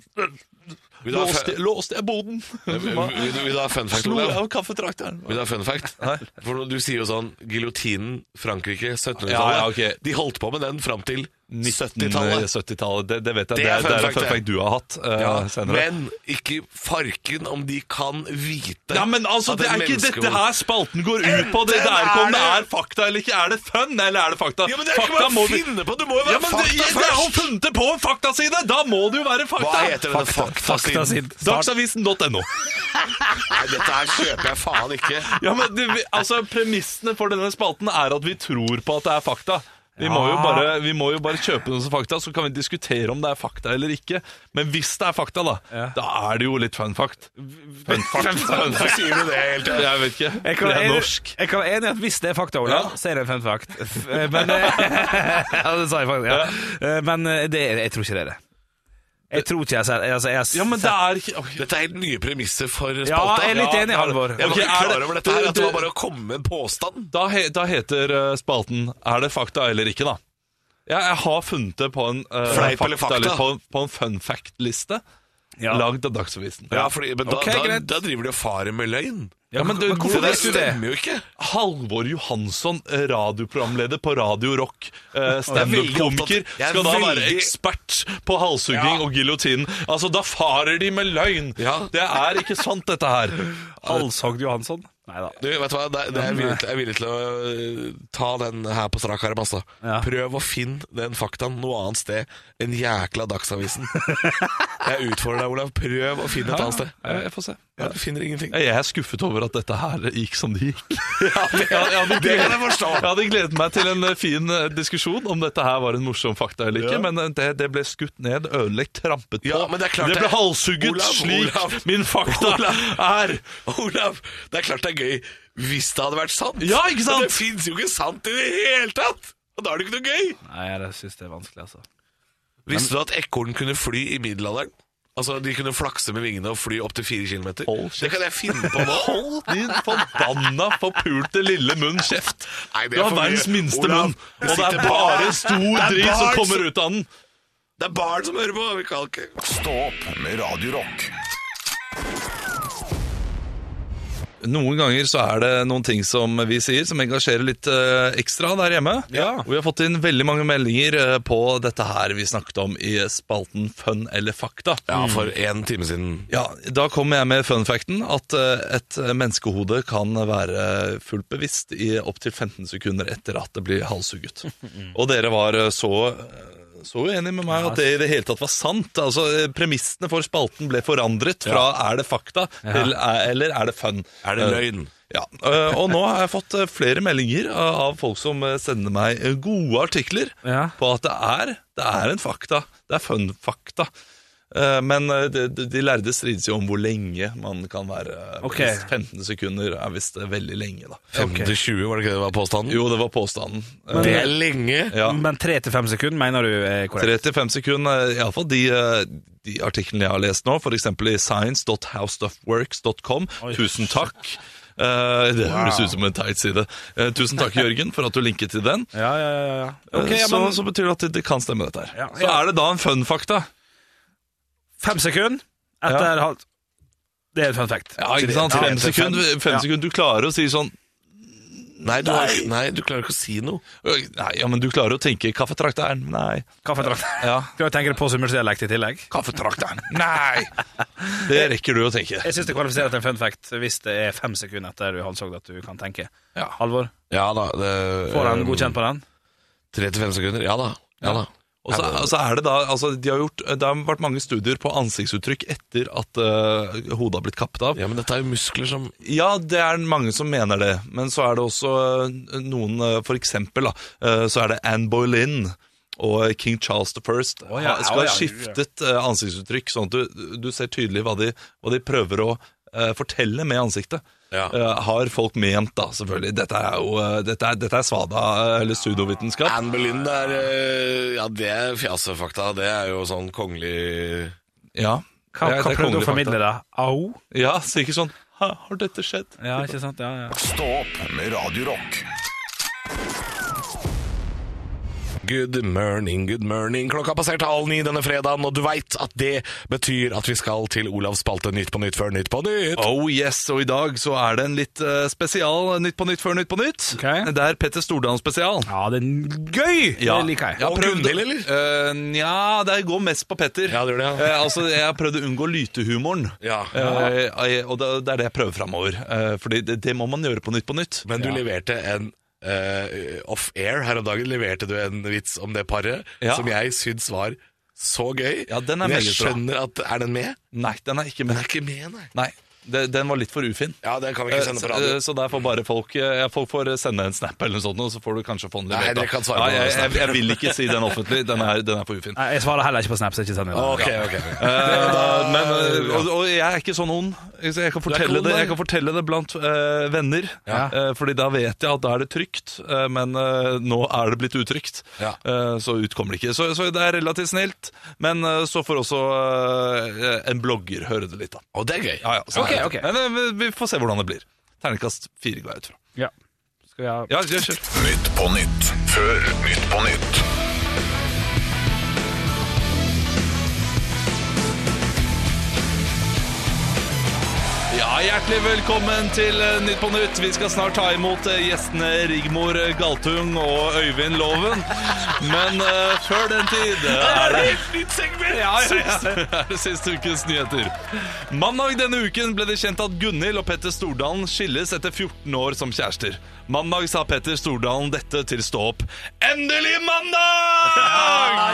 Speaker 3: Vil du ha
Speaker 5: Låste,
Speaker 3: fun-
Speaker 5: låste jeg boden?
Speaker 3: Vil du- vil du ha fun fact,
Speaker 5: Slo jeg
Speaker 3: Olav?
Speaker 5: av kaffetrakteren?
Speaker 3: Vil du ha fun fact? For når Du sier jo sånn Giljotinen, Frankrike, 1700-tallet.
Speaker 5: Ja, ja, ok.
Speaker 3: De holdt på med den fram til 70-tallet.
Speaker 5: 1970-tallet. Det, det vet jeg.
Speaker 3: Det
Speaker 5: Det,
Speaker 3: er
Speaker 5: er- det
Speaker 3: fun
Speaker 5: er en
Speaker 3: fact,
Speaker 5: fun
Speaker 3: det.
Speaker 5: fact du har hatt eh,
Speaker 3: Ja,
Speaker 5: senere.
Speaker 3: men ikke farken om de kan vite
Speaker 5: Ja, men altså,
Speaker 3: at
Speaker 5: det
Speaker 3: et
Speaker 5: er ikke
Speaker 3: menneske-
Speaker 5: dette her spalten går ut på. Det, det er ikke om det er fakta eller ikke. Er det fun, eller er det fakta?
Speaker 3: Ja, men det er
Speaker 5: fakta
Speaker 3: ikke bare
Speaker 5: må
Speaker 3: å
Speaker 5: vi-
Speaker 3: finne på! Det må jo
Speaker 5: Ja,
Speaker 3: være
Speaker 5: men det,
Speaker 3: fakta
Speaker 5: det er jo
Speaker 3: først!
Speaker 5: funnet på en faktaside! Da må det jo være fakta!
Speaker 3: Hva heter denne faktasiden?
Speaker 4: Faktasiden. Start.
Speaker 5: Dagsavisen.no.
Speaker 3: Nei, dette her kjøper jeg faen ikke.
Speaker 5: Ja, men det, vi- altså, Premissene for denne spalten er at vi tror på at det er fakta. Vi må, jo bare, vi må jo bare kjøpe noe som fakta, så kan vi diskutere om det er fakta eller ikke. Men hvis det er fakta, da, da er det jo litt fun fact. Fun fact. Fun fact.
Speaker 3: Sier du det helt
Speaker 5: Jeg vet ikke.
Speaker 4: Jeg kan,
Speaker 5: det
Speaker 4: være
Speaker 5: er
Speaker 4: enig-
Speaker 5: norsk.
Speaker 4: jeg kan være enig i at hvis det er fakta, Ola,
Speaker 5: Ja.
Speaker 4: så er det en fun fact. F- eh, Men, eh, ja, det sa jeg faktisk, ja. Eh, men eh, det, jeg tror ikke det er det. Jeg tror ikke jeg ser altså, jeg,
Speaker 5: Ja, men det er ikke
Speaker 3: Dette er helt nye premisser for spalta.
Speaker 4: Ja, jeg er litt enig, Halvor.
Speaker 3: Jeg var
Speaker 5: Ok,
Speaker 3: ikke
Speaker 5: er det-
Speaker 3: klar over dette her, at det
Speaker 5: du-
Speaker 3: var bare å komme med en påstand.
Speaker 5: Da, he, da heter eh, spalten Er det fakta eller ikke, da? Ja, jeg har funnet det på en, eh,
Speaker 3: Fleip eller fakta?
Speaker 5: eller på, en- på en fun fact-liste
Speaker 4: Ja.
Speaker 5: lagd av Dagsavisen.
Speaker 3: Ja, fordi, men da,
Speaker 4: Ok,
Speaker 3: da,
Speaker 4: greit.
Speaker 3: da driver de og farer med løgn.
Speaker 5: Ja, men du-
Speaker 3: For
Speaker 4: hvorfor
Speaker 3: det
Speaker 4: vet du det?
Speaker 3: stemmer jo ikke.
Speaker 5: Halvor Johansson, eh, radioprogramleder på Radio Rock, eh,
Speaker 3: Jeg er veldig
Speaker 5: standup-komiker,
Speaker 3: opptatt- jeg er
Speaker 5: skal da være
Speaker 3: veldig-
Speaker 5: ekspert på halshugging
Speaker 3: Ja.
Speaker 5: og giljotinen. Altså, da farer de med løgn!
Speaker 3: Ja.
Speaker 5: Det er ikke sant, dette her.
Speaker 4: Halshogd Johansson? Nei da.
Speaker 3: Du, vet du hva, det, det er jeg, villig til, jeg er villig til å øh, ta den her på strak arm, altså.
Speaker 4: Ja.
Speaker 3: Prøv å finne den faktaen noe annet sted enn jækla Dagsavisen. jeg utfordrer deg, Olav. Prøv å finne et annet sted.
Speaker 5: Ja, Eh, jeg får se.
Speaker 3: Ja, du finner ingenting.
Speaker 5: Jeg er skuffet over at dette her gikk som det gikk.
Speaker 3: det,
Speaker 5: det kan
Speaker 3: jeg forstå.
Speaker 5: Jeg hadde gledet meg til en eh, fin eh, diskusjon om dette her var en morsom fakta eller ikke, men eh, det, det ble skutt ned, ødelagt, trampet på.
Speaker 3: Ja, men det er klart
Speaker 5: ble
Speaker 3: det-
Speaker 5: halshugget
Speaker 3: Olav,
Speaker 5: slik
Speaker 3: Olav.
Speaker 5: min fakta er.
Speaker 3: Olav, det er klart det er gøy hvis det hadde vært sant.
Speaker 5: Ja, ikke sant?
Speaker 3: Men det fins jo ikke sant i det hele tatt! Og da er det ikke noe gøy.
Speaker 4: Nei, jeg syns det er vanskelig, altså.
Speaker 3: Visste du at ekorn kunne fly i middelalderen? Altså, De kunne flakse med vingene og fly opptil fire kilometer.
Speaker 5: Hold kjeft.
Speaker 3: Det kan jeg finne på nå.
Speaker 5: Hold din forbanna, forpulte lille munn kjeft.
Speaker 3: Nei, det
Speaker 5: Du
Speaker 3: er
Speaker 5: har
Speaker 3: for mye.
Speaker 5: verdens minste
Speaker 3: Olav,
Speaker 5: munn,
Speaker 3: du
Speaker 5: og det
Speaker 3: sitter
Speaker 5: er bare stor
Speaker 3: Det er
Speaker 5: drit som
Speaker 3: barn
Speaker 5: kommer ut av den.
Speaker 3: Det er barn som hører på! Vi kan ikke
Speaker 1: Stå opp med Radio Rock.
Speaker 5: Noen ganger så er det noen ting som vi sier som engasjerer litt eh, ekstra der hjemme.
Speaker 4: Ja.
Speaker 5: Og vi har fått inn veldig mange meldinger eh, på dette her vi snakket om i spalten Fun eller fakta.
Speaker 3: Ja, for en time siden.
Speaker 5: Ja, Da kommer jeg med fun facten at eh, et menneskehode kan være fullt bevisst i opptil 15 sekunder etter at det blir halshugget. Og dere var eh, så eh, så uenige med meg at det i det hele tatt var sant. Altså, eh, Premissene for spalten ble forandret fra 'er det fakta' til eh, 'eller er det fun'?
Speaker 3: Er det
Speaker 5: Eh,
Speaker 3: løgn?
Speaker 5: ja, øh, og nå har jeg fått øh, flere meldinger øh, av folk som øh, sender meg øh, gode artikler
Speaker 4: Ja.
Speaker 5: på at det er, det er en fakta. Det er fun fakta. Eh, Men eh, de, de de lærde strides jo om hvor lenge man kan være.
Speaker 4: Ok.
Speaker 5: 15 sekunder er visst eh, veldig lenge, da.
Speaker 3: 5-20, var det ikke det var påstanden?
Speaker 5: Jo, det var påstanden. Eh,
Speaker 3: Det er lenge!
Speaker 5: ja.
Speaker 4: Men tre til fem sekunder mener du er korrekt?
Speaker 5: 3-5 sekunder, iallfall de, eh, de artiklene jeg har lest nå, f.eks. i science.howstuffworks.com. Tusen takk. Eh, det høres ut som en teit side. Eh, tusen takk, Jørgen, for at du linket til den.
Speaker 4: Ja, ja, ja. ja.
Speaker 5: Eh,
Speaker 4: Ok, ja,
Speaker 5: så,
Speaker 4: men
Speaker 5: så betyr det at det, det kan stemme, dette her.
Speaker 4: Ja,
Speaker 5: Så
Speaker 4: ja.
Speaker 5: er det da en fun fact, da.
Speaker 4: fem sekunder etter halvt Det er et fun fact.
Speaker 5: Ja, ikke sant?
Speaker 4: Ja,
Speaker 5: Fem
Speaker 4: til fem.
Speaker 5: sekunder, fem
Speaker 4: Ja.
Speaker 5: sekunder. Du klarer å si sånn
Speaker 3: Nei du, har, nei, du klarer ikke å si noe.
Speaker 5: øh, Nei, ja, men du klarer å tenke kaffetrakteren. Nei.
Speaker 4: Kaffetrakt.
Speaker 5: Ja.
Speaker 4: Skal jeg tenke det på summersdialekt i tillegg?
Speaker 5: Kaffetrakteren. Nei! Det rekker du å tenke.
Speaker 4: Jeg syns det kvalifiserer til en fun fact hvis det er fem sekunder etter du halshogd at du kan tenke.
Speaker 5: Ja. Eh,
Speaker 4: Halvor,
Speaker 3: Ja da. Det,
Speaker 4: får han godkjent på den?
Speaker 3: 3-5 sekunder. Ja da. Ja da.
Speaker 5: Og så og så er det da, altså, de har gjort, det har vært mange studier på ansiktsuttrykk etter at øh, hodet har blitt kappet av.
Speaker 3: Ja, men dette er jo muskler som
Speaker 5: Ja, det er mange som mener det, men så er det også øh, noen, øh, for eksempel, da, øh, så er det Anne Boleyn og King Charles the First
Speaker 4: ja,
Speaker 5: ha-
Speaker 4: å
Speaker 5: skal
Speaker 4: ja,
Speaker 5: ha skiftet øh, ansiktsuttrykk, sånn at du, du ser tydelig hva de, hva de prøver å øh, fortelle med ansiktet.
Speaker 3: Ja.
Speaker 5: Øh, har folk ment da, selvfølgelig. Dette er jo øh, dette er, dette er svada, øh, eller pseudovitenskap.
Speaker 3: Anne Boleyn er eh, Ja, det er fjasefakta. Det er jo sånn kongelig
Speaker 5: Ja.
Speaker 4: Hva,
Speaker 5: Det er-
Speaker 4: hva
Speaker 5: det er
Speaker 4: prøvde du
Speaker 5: kongelig
Speaker 4: å formidle
Speaker 5: fakta.
Speaker 4: da? Au?
Speaker 5: Ja, sikkert sånn, «Ha, har dette skjedd?
Speaker 4: Ja, ikke sant? Ja, ja.
Speaker 1: Stå opp med Radio Rock.
Speaker 3: Good morning, good morning. Klokka har passert halv ni denne fredagen, og du veit at det betyr at vi skal til Olavs spalte Nytt på nytt før Nytt på nytt.
Speaker 5: Oh yes, og i dag så er det en litt eh, spesial Nytt på nytt før Nytt på nytt.
Speaker 4: Ok.
Speaker 5: Det er Petter Stordalen spesial.
Speaker 4: ja, det er gøy! Det liker jeg.
Speaker 5: har
Speaker 3: Og
Speaker 5: prøvd-
Speaker 3: Gunhild, eller?
Speaker 5: Eh, Nja, det går mest på Petter.
Speaker 3: Ja, det gjør det, ja.
Speaker 5: Eh, altså, jeg har prøvd å unngå lytehumoren.
Speaker 3: Ja.
Speaker 5: Eh, eh, og det, det er det jeg prøver framover. Uh, fordi det, det må man gjøre på Nytt på nytt.
Speaker 3: Men du leverte en eh, off-air her om dagen. Leverte du en vits om det paret
Speaker 5: Ja.
Speaker 3: som jeg syns var så gøy.
Speaker 5: Ja, den er
Speaker 3: Men jeg
Speaker 5: meget bra.
Speaker 3: skjønner at Er den med?
Speaker 5: Nei, den er ikke
Speaker 3: Den
Speaker 5: med.
Speaker 3: er ikke med, nei.
Speaker 5: Nei, det, den var litt for ufin.
Speaker 3: Ja, den kan vi ikke
Speaker 5: Eh,
Speaker 3: sende
Speaker 5: så-
Speaker 3: på radio.
Speaker 5: eh, Så der får bare folk eh, ja, Folk får sende en snap eller noe sånt, og så får du kanskje få den
Speaker 3: Nei,
Speaker 5: levert, da.
Speaker 3: dere kan svare på
Speaker 5: Nei,
Speaker 3: den
Speaker 5: jeg, jeg,
Speaker 3: snappen.
Speaker 5: jeg vil ikke si den offentlig. Den er, den er for ufin.
Speaker 4: Nei, jeg svarer heller ikke på Snap, så ikke send det.
Speaker 3: Ok, ok.
Speaker 5: Eh, men, eh, og, og jeg er ikke sånn ond. Så jeg, kan
Speaker 3: ikke
Speaker 5: fortelle
Speaker 3: ond,
Speaker 5: det,
Speaker 3: nei.
Speaker 5: jeg kan fortelle det blant eh, venner.
Speaker 4: Ja.
Speaker 5: Eh, fordi da vet jeg at da er det trygt, eh, men eh, nå er det blitt utrygt.
Speaker 3: Ja.
Speaker 5: Eh, så ut kommer det ikke. Så, så det er relativt snilt. Men eh, så får også eh, en blogger høre det litt, da.
Speaker 3: Og det er gøy.
Speaker 5: Ja, ja, sånn
Speaker 4: Ok,
Speaker 5: er det.
Speaker 4: ok.
Speaker 5: Men eh, vi- vi får se hvordan det blir. Terningkast fire går jeg ut fra.
Speaker 4: Ja. Skal vi ha
Speaker 5: Ja, kjør, kjør.
Speaker 1: Nytt på nytt før Nytt på nytt.
Speaker 5: Ja, Hjertelig velkommen til eh, Nytt på Nytt. Vi skal snart ta imot eh, gjestene Rigmor eh, Galtung og Øyvind Loven. Men eh, før den tid eh, er det ja, ja, ja. er det siste ukens nyheter. Mandag denne uken ble det kjent at Gunhild og Petter Stordalen skilles etter 14 år som kjærester. Mandag sa Petter Stordalen dette til Stå opp. Endelig mandag!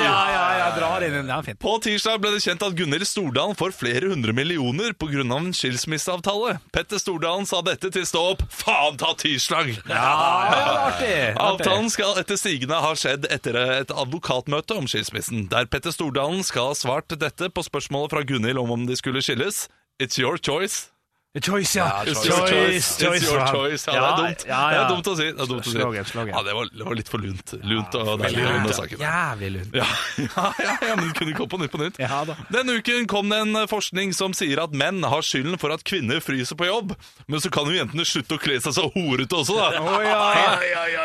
Speaker 4: ja, ja, drar inn den. Ja, fint.
Speaker 5: På tirsdag ble det kjent at Gunhild Stordalen får flere hundre millioner pga. en skilsmisseavtale. Petter Stordalen sa dette til Stå opp. Faen ta tirsdag!
Speaker 4: Ja, ja, artig.
Speaker 5: Avtalen skal etter sigende ha skjedd etter et advokatmøte om skilsmissen, der Petter Stordalen skal ha svart dette på spørsmålet fra Gunhild om om de skulle skilles. It's your choice.
Speaker 4: Choice, ja.
Speaker 5: It's
Speaker 3: choice.
Speaker 5: your
Speaker 4: Choice,
Speaker 5: choice.
Speaker 4: choice,
Speaker 5: It's your
Speaker 4: ja.
Speaker 5: choice. Ja, det
Speaker 4: Ja,
Speaker 5: er dumt.
Speaker 4: ja, ja.
Speaker 5: Det er dumt å si. Det, er dumt å si.
Speaker 4: Slogan, slogan.
Speaker 5: Ja, det, var, det var litt for lunt. Lunt og deilig
Speaker 4: Jævlig-
Speaker 5: under saken.
Speaker 4: Jævlig lunt.
Speaker 5: Ja, ja, ja, ja, men det kunne komme på nytt på nytt.
Speaker 4: Ja da.
Speaker 5: Denne uken kom det en forskning som sier at menn har skylden for at kvinner fryser på jobb. Men så kan jo jentene slutte å kle seg så horete også, da.
Speaker 4: Å, ja.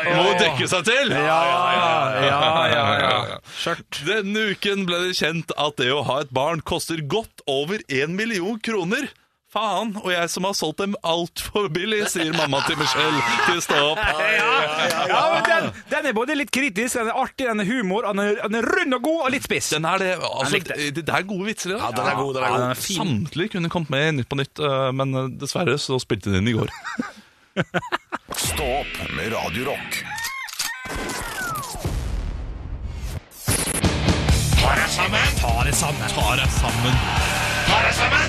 Speaker 5: De Må jo dekke seg til!
Speaker 4: ja, ja, ja, ja.
Speaker 5: Skjørt. Denne uken ble det kjent at det å ha et barn koster godt over én million kroner. Faen, og jeg som har solgt dem altfor billig, sier mamma til Michelle til Stå opp.
Speaker 4: Ja, men den, den er både litt kritisk, den er artig, den er humor, den er, den er rund og god og litt spiss.
Speaker 5: Den er det, altså,
Speaker 4: likte
Speaker 5: det, det er gode vitser i dag.
Speaker 3: Ja, den er god, den er god.
Speaker 4: fin.
Speaker 5: Samtlige kunne kommet med i Nytt på Nytt, eh, men eh, dessverre så spilte de inn i går.
Speaker 1: Stå opp med Radio Rock.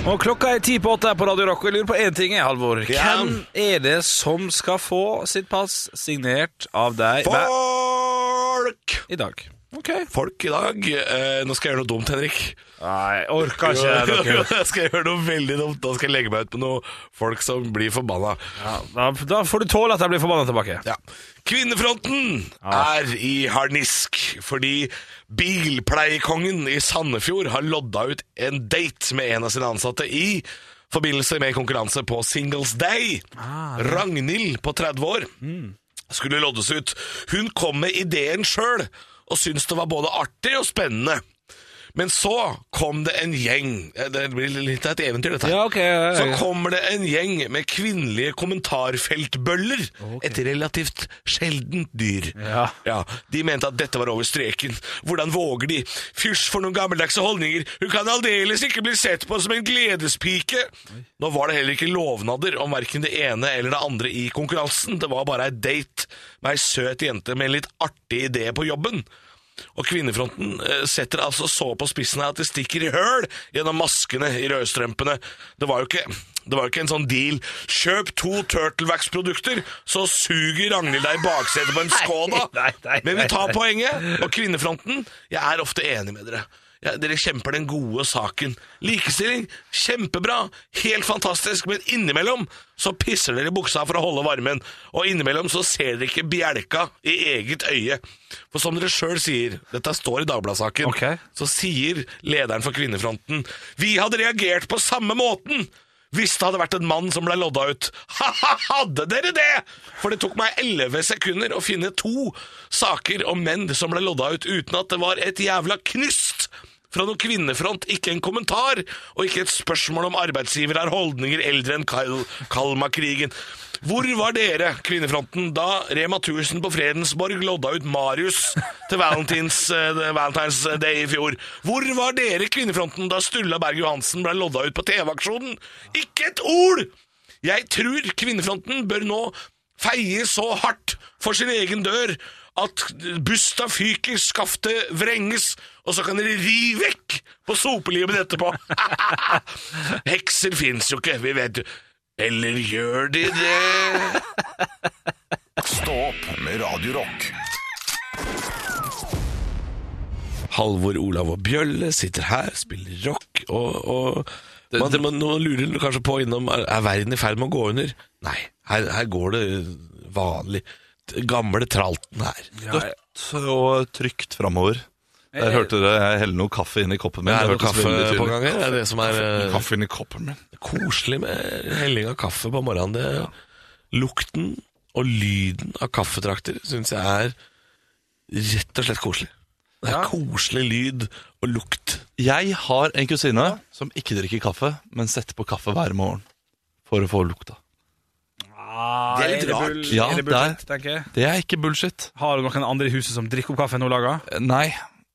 Speaker 4: Og klokka er ti på åtte her på Radio Rock, og jeg lurer på én ting, jeg, Halvor.
Speaker 3: Ja.
Speaker 4: Hvem er det som skal få sitt pass signert av deg hver-
Speaker 3: Folk!
Speaker 4: i dag?
Speaker 3: folk i dag. Eh, nå skal jeg gjøre noe dumt, Henrik.
Speaker 4: Nei, jeg orker ikke dere.
Speaker 3: jeg skal gjøre noe veldig dumt. Da skal jeg legge meg ut med noen folk som blir forbanna.
Speaker 4: Ja, da, da får du tåle at jeg blir forbanna tilbake.
Speaker 3: Ja. Kvinnefronten er i harnisk fordi bilpleiekongen i Sandefjord har lodda ut en date med en av sine ansatte i forbindelse med konkurranse på Singles Day. Ragnhild på 30 år skulle loddes ut. Hun kom med ideen sjøl og syntes det var både artig og spennende. Men så kom det en gjeng Eh, Det blir litt av et eventyr, dette. her.
Speaker 4: Ja, ok, ja, ja, ja.
Speaker 3: Så kommer det en gjeng med kvinnelige kommentarfeltbøller. Et relativt sjeldent dyr.
Speaker 4: Ja.
Speaker 3: De mente at dette var over streken. Hvordan våger de? Fysj for noen gammeldagse holdninger. Hun kan aldeles ikke bli sett på som en gledespike. Nå var det heller ikke lovnader om verken det ene eller det andre i konkurransen. Det var bare ei date med ei søt jente med en litt artig idé på jobben. Og kvinnefronten eh, setter altså så på spissen her at det stikker i høl gjennom maskene i rødstrømpene. Det var jo ikke, det var jo ikke en sånn deal. Kjøp to Turtlewax-produkter, så suger Ragnhild deg i baksetet på en Skoda.
Speaker 4: nei, nei,
Speaker 3: Men vi
Speaker 4: nei,
Speaker 3: tar poenget. Og kvinnefronten, jeg er ofte enig med dere. Ja, dere kjemper den gode saken. Likestilling, kjempebra, helt fantastisk, men innimellom så pisser dere i buksa for å holde varmen, og innimellom så ser dere ikke bjelka i eget øye. For som dere sjøl sier, dette står i Dagbladet-saken,
Speaker 4: Ok.
Speaker 3: så sier lederen for Kvinnefronten Vi hadde reagert på samme måten! Hvis det hadde vært en mann som ble lodda ut. Ha-ha, hadde dere det?! For det tok meg 11 sekunder å finne to saker om menn som ble lodda ut uten at det var et jævla knyst fra noen kvinnefront, ikke en kommentar, og ikke et spørsmål om arbeidsgiver har holdninger eldre enn Kal Kalmarkrigen. Hvor var dere, kvinnefronten, da Rema 1000 på Fredensborg lodda ut Marius til Valentins, eh, Valentine's Day i fjor? Hvor var dere, kvinnefronten, da Stulla Berg Johansen ble lodda ut på TV-aksjonen? Ikke et ord! Jeg tror kvinnefronten bør nå feie så hardt for sin egen dør at busta fyker, skaftet vrenges, og så kan dere ri vekk på sopelimen etterpå. Hekser fins jo ikke, vi vet jo. Eller gjør de det?
Speaker 1: Stå opp med Radio Rock.
Speaker 3: Halvor, Olav og Bjølle sitter her, spiller rock, og, og man, man, nå lurer man kanskje på innom Er er verden i ferd med å gå under? Nei, her, her går det vanlig. Gamle tralten her.
Speaker 5: Dødt og trygt framover. Der hørte dere jeg helle noe kaffe inn i koppen min.
Speaker 3: Det er
Speaker 5: Det
Speaker 3: noe
Speaker 5: hørtes
Speaker 3: kaffe
Speaker 5: veldig
Speaker 3: på
Speaker 5: tydelig.
Speaker 3: gang her. Det er det som er eh,
Speaker 5: Kaffe inn i koppen min.
Speaker 3: koselig med helling av kaffe på morgenen. Det, lukten og lyden av kaffetrakter syns jeg er rett og slett koselig. Det er koselig lyd og lukt.
Speaker 5: Jeg har en kusine som ikke drikker kaffe, men setter på kaffe hver morgen for å få lukta.
Speaker 4: Det
Speaker 3: er litt rart.
Speaker 5: Ja,
Speaker 4: er det bullshit, tenker jeg.
Speaker 5: Det er ikke bullshit.
Speaker 4: Har du noen andre i huset som drikker opp kaffe nå laga?
Speaker 5: Eh, Nei.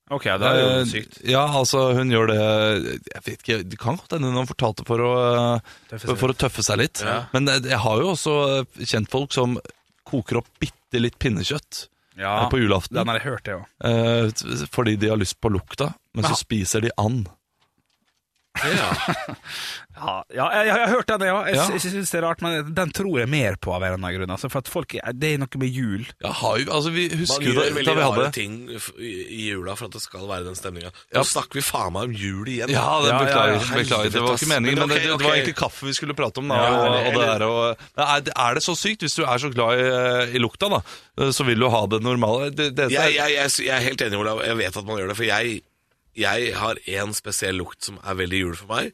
Speaker 4: Ok, da er det jo
Speaker 5: Eh,
Speaker 4: sykt.
Speaker 5: Ja, altså, hun gjør det Jeg vet ikke, Det kan godt hende hun fortalte for å,
Speaker 4: Tøffe
Speaker 5: for,
Speaker 4: seg
Speaker 5: å tøffe seg litt. Men eh, jeg jeg har jo også kjent folk som koker opp bitte litt pinnekjøtt
Speaker 4: Ja,
Speaker 5: eh, på julaften.
Speaker 4: den har jeg hørt, det òg.
Speaker 5: Eh, t- fordi de har lyst på lukta, men så spiser de and.
Speaker 4: Ja, ja jeg, jeg har hørt den, ja. jeg
Speaker 5: Ja.
Speaker 4: òg. Jeg syns det er rart, men den tror jeg mer på av en eller annen grunn. Altså, for at folk, det er noe med jul.
Speaker 5: Ja, har jo, altså vi
Speaker 3: Man
Speaker 5: husker jo da,
Speaker 3: gjør
Speaker 5: da
Speaker 3: veldig
Speaker 5: vi
Speaker 3: rare
Speaker 5: hadde
Speaker 3: ting f- i i jula for at det skal være den stemninga. Nå snakker vi faen meg om jul igjen.
Speaker 5: ja,
Speaker 4: Ja,
Speaker 5: det,
Speaker 4: ja,
Speaker 5: beklager,
Speaker 4: ja.
Speaker 5: beklager, det var ikke meningen, men, det,
Speaker 3: ok,
Speaker 5: det var
Speaker 3: ok.
Speaker 5: egentlig kaffe vi skulle prate om. Da,
Speaker 4: Ja,
Speaker 5: og, og
Speaker 3: eller-
Speaker 5: det er, og, Nei, er, det- er det så sykt? Hvis du er så glad i, eh, i lukta, da, så vil du ha det normale. Det, det,
Speaker 3: jeg, jeg, jeg, jeg er helt enig, Olav. Jeg vet at man gjør det. For jeg, jeg har én spesiell lukt som er veldig jul for meg.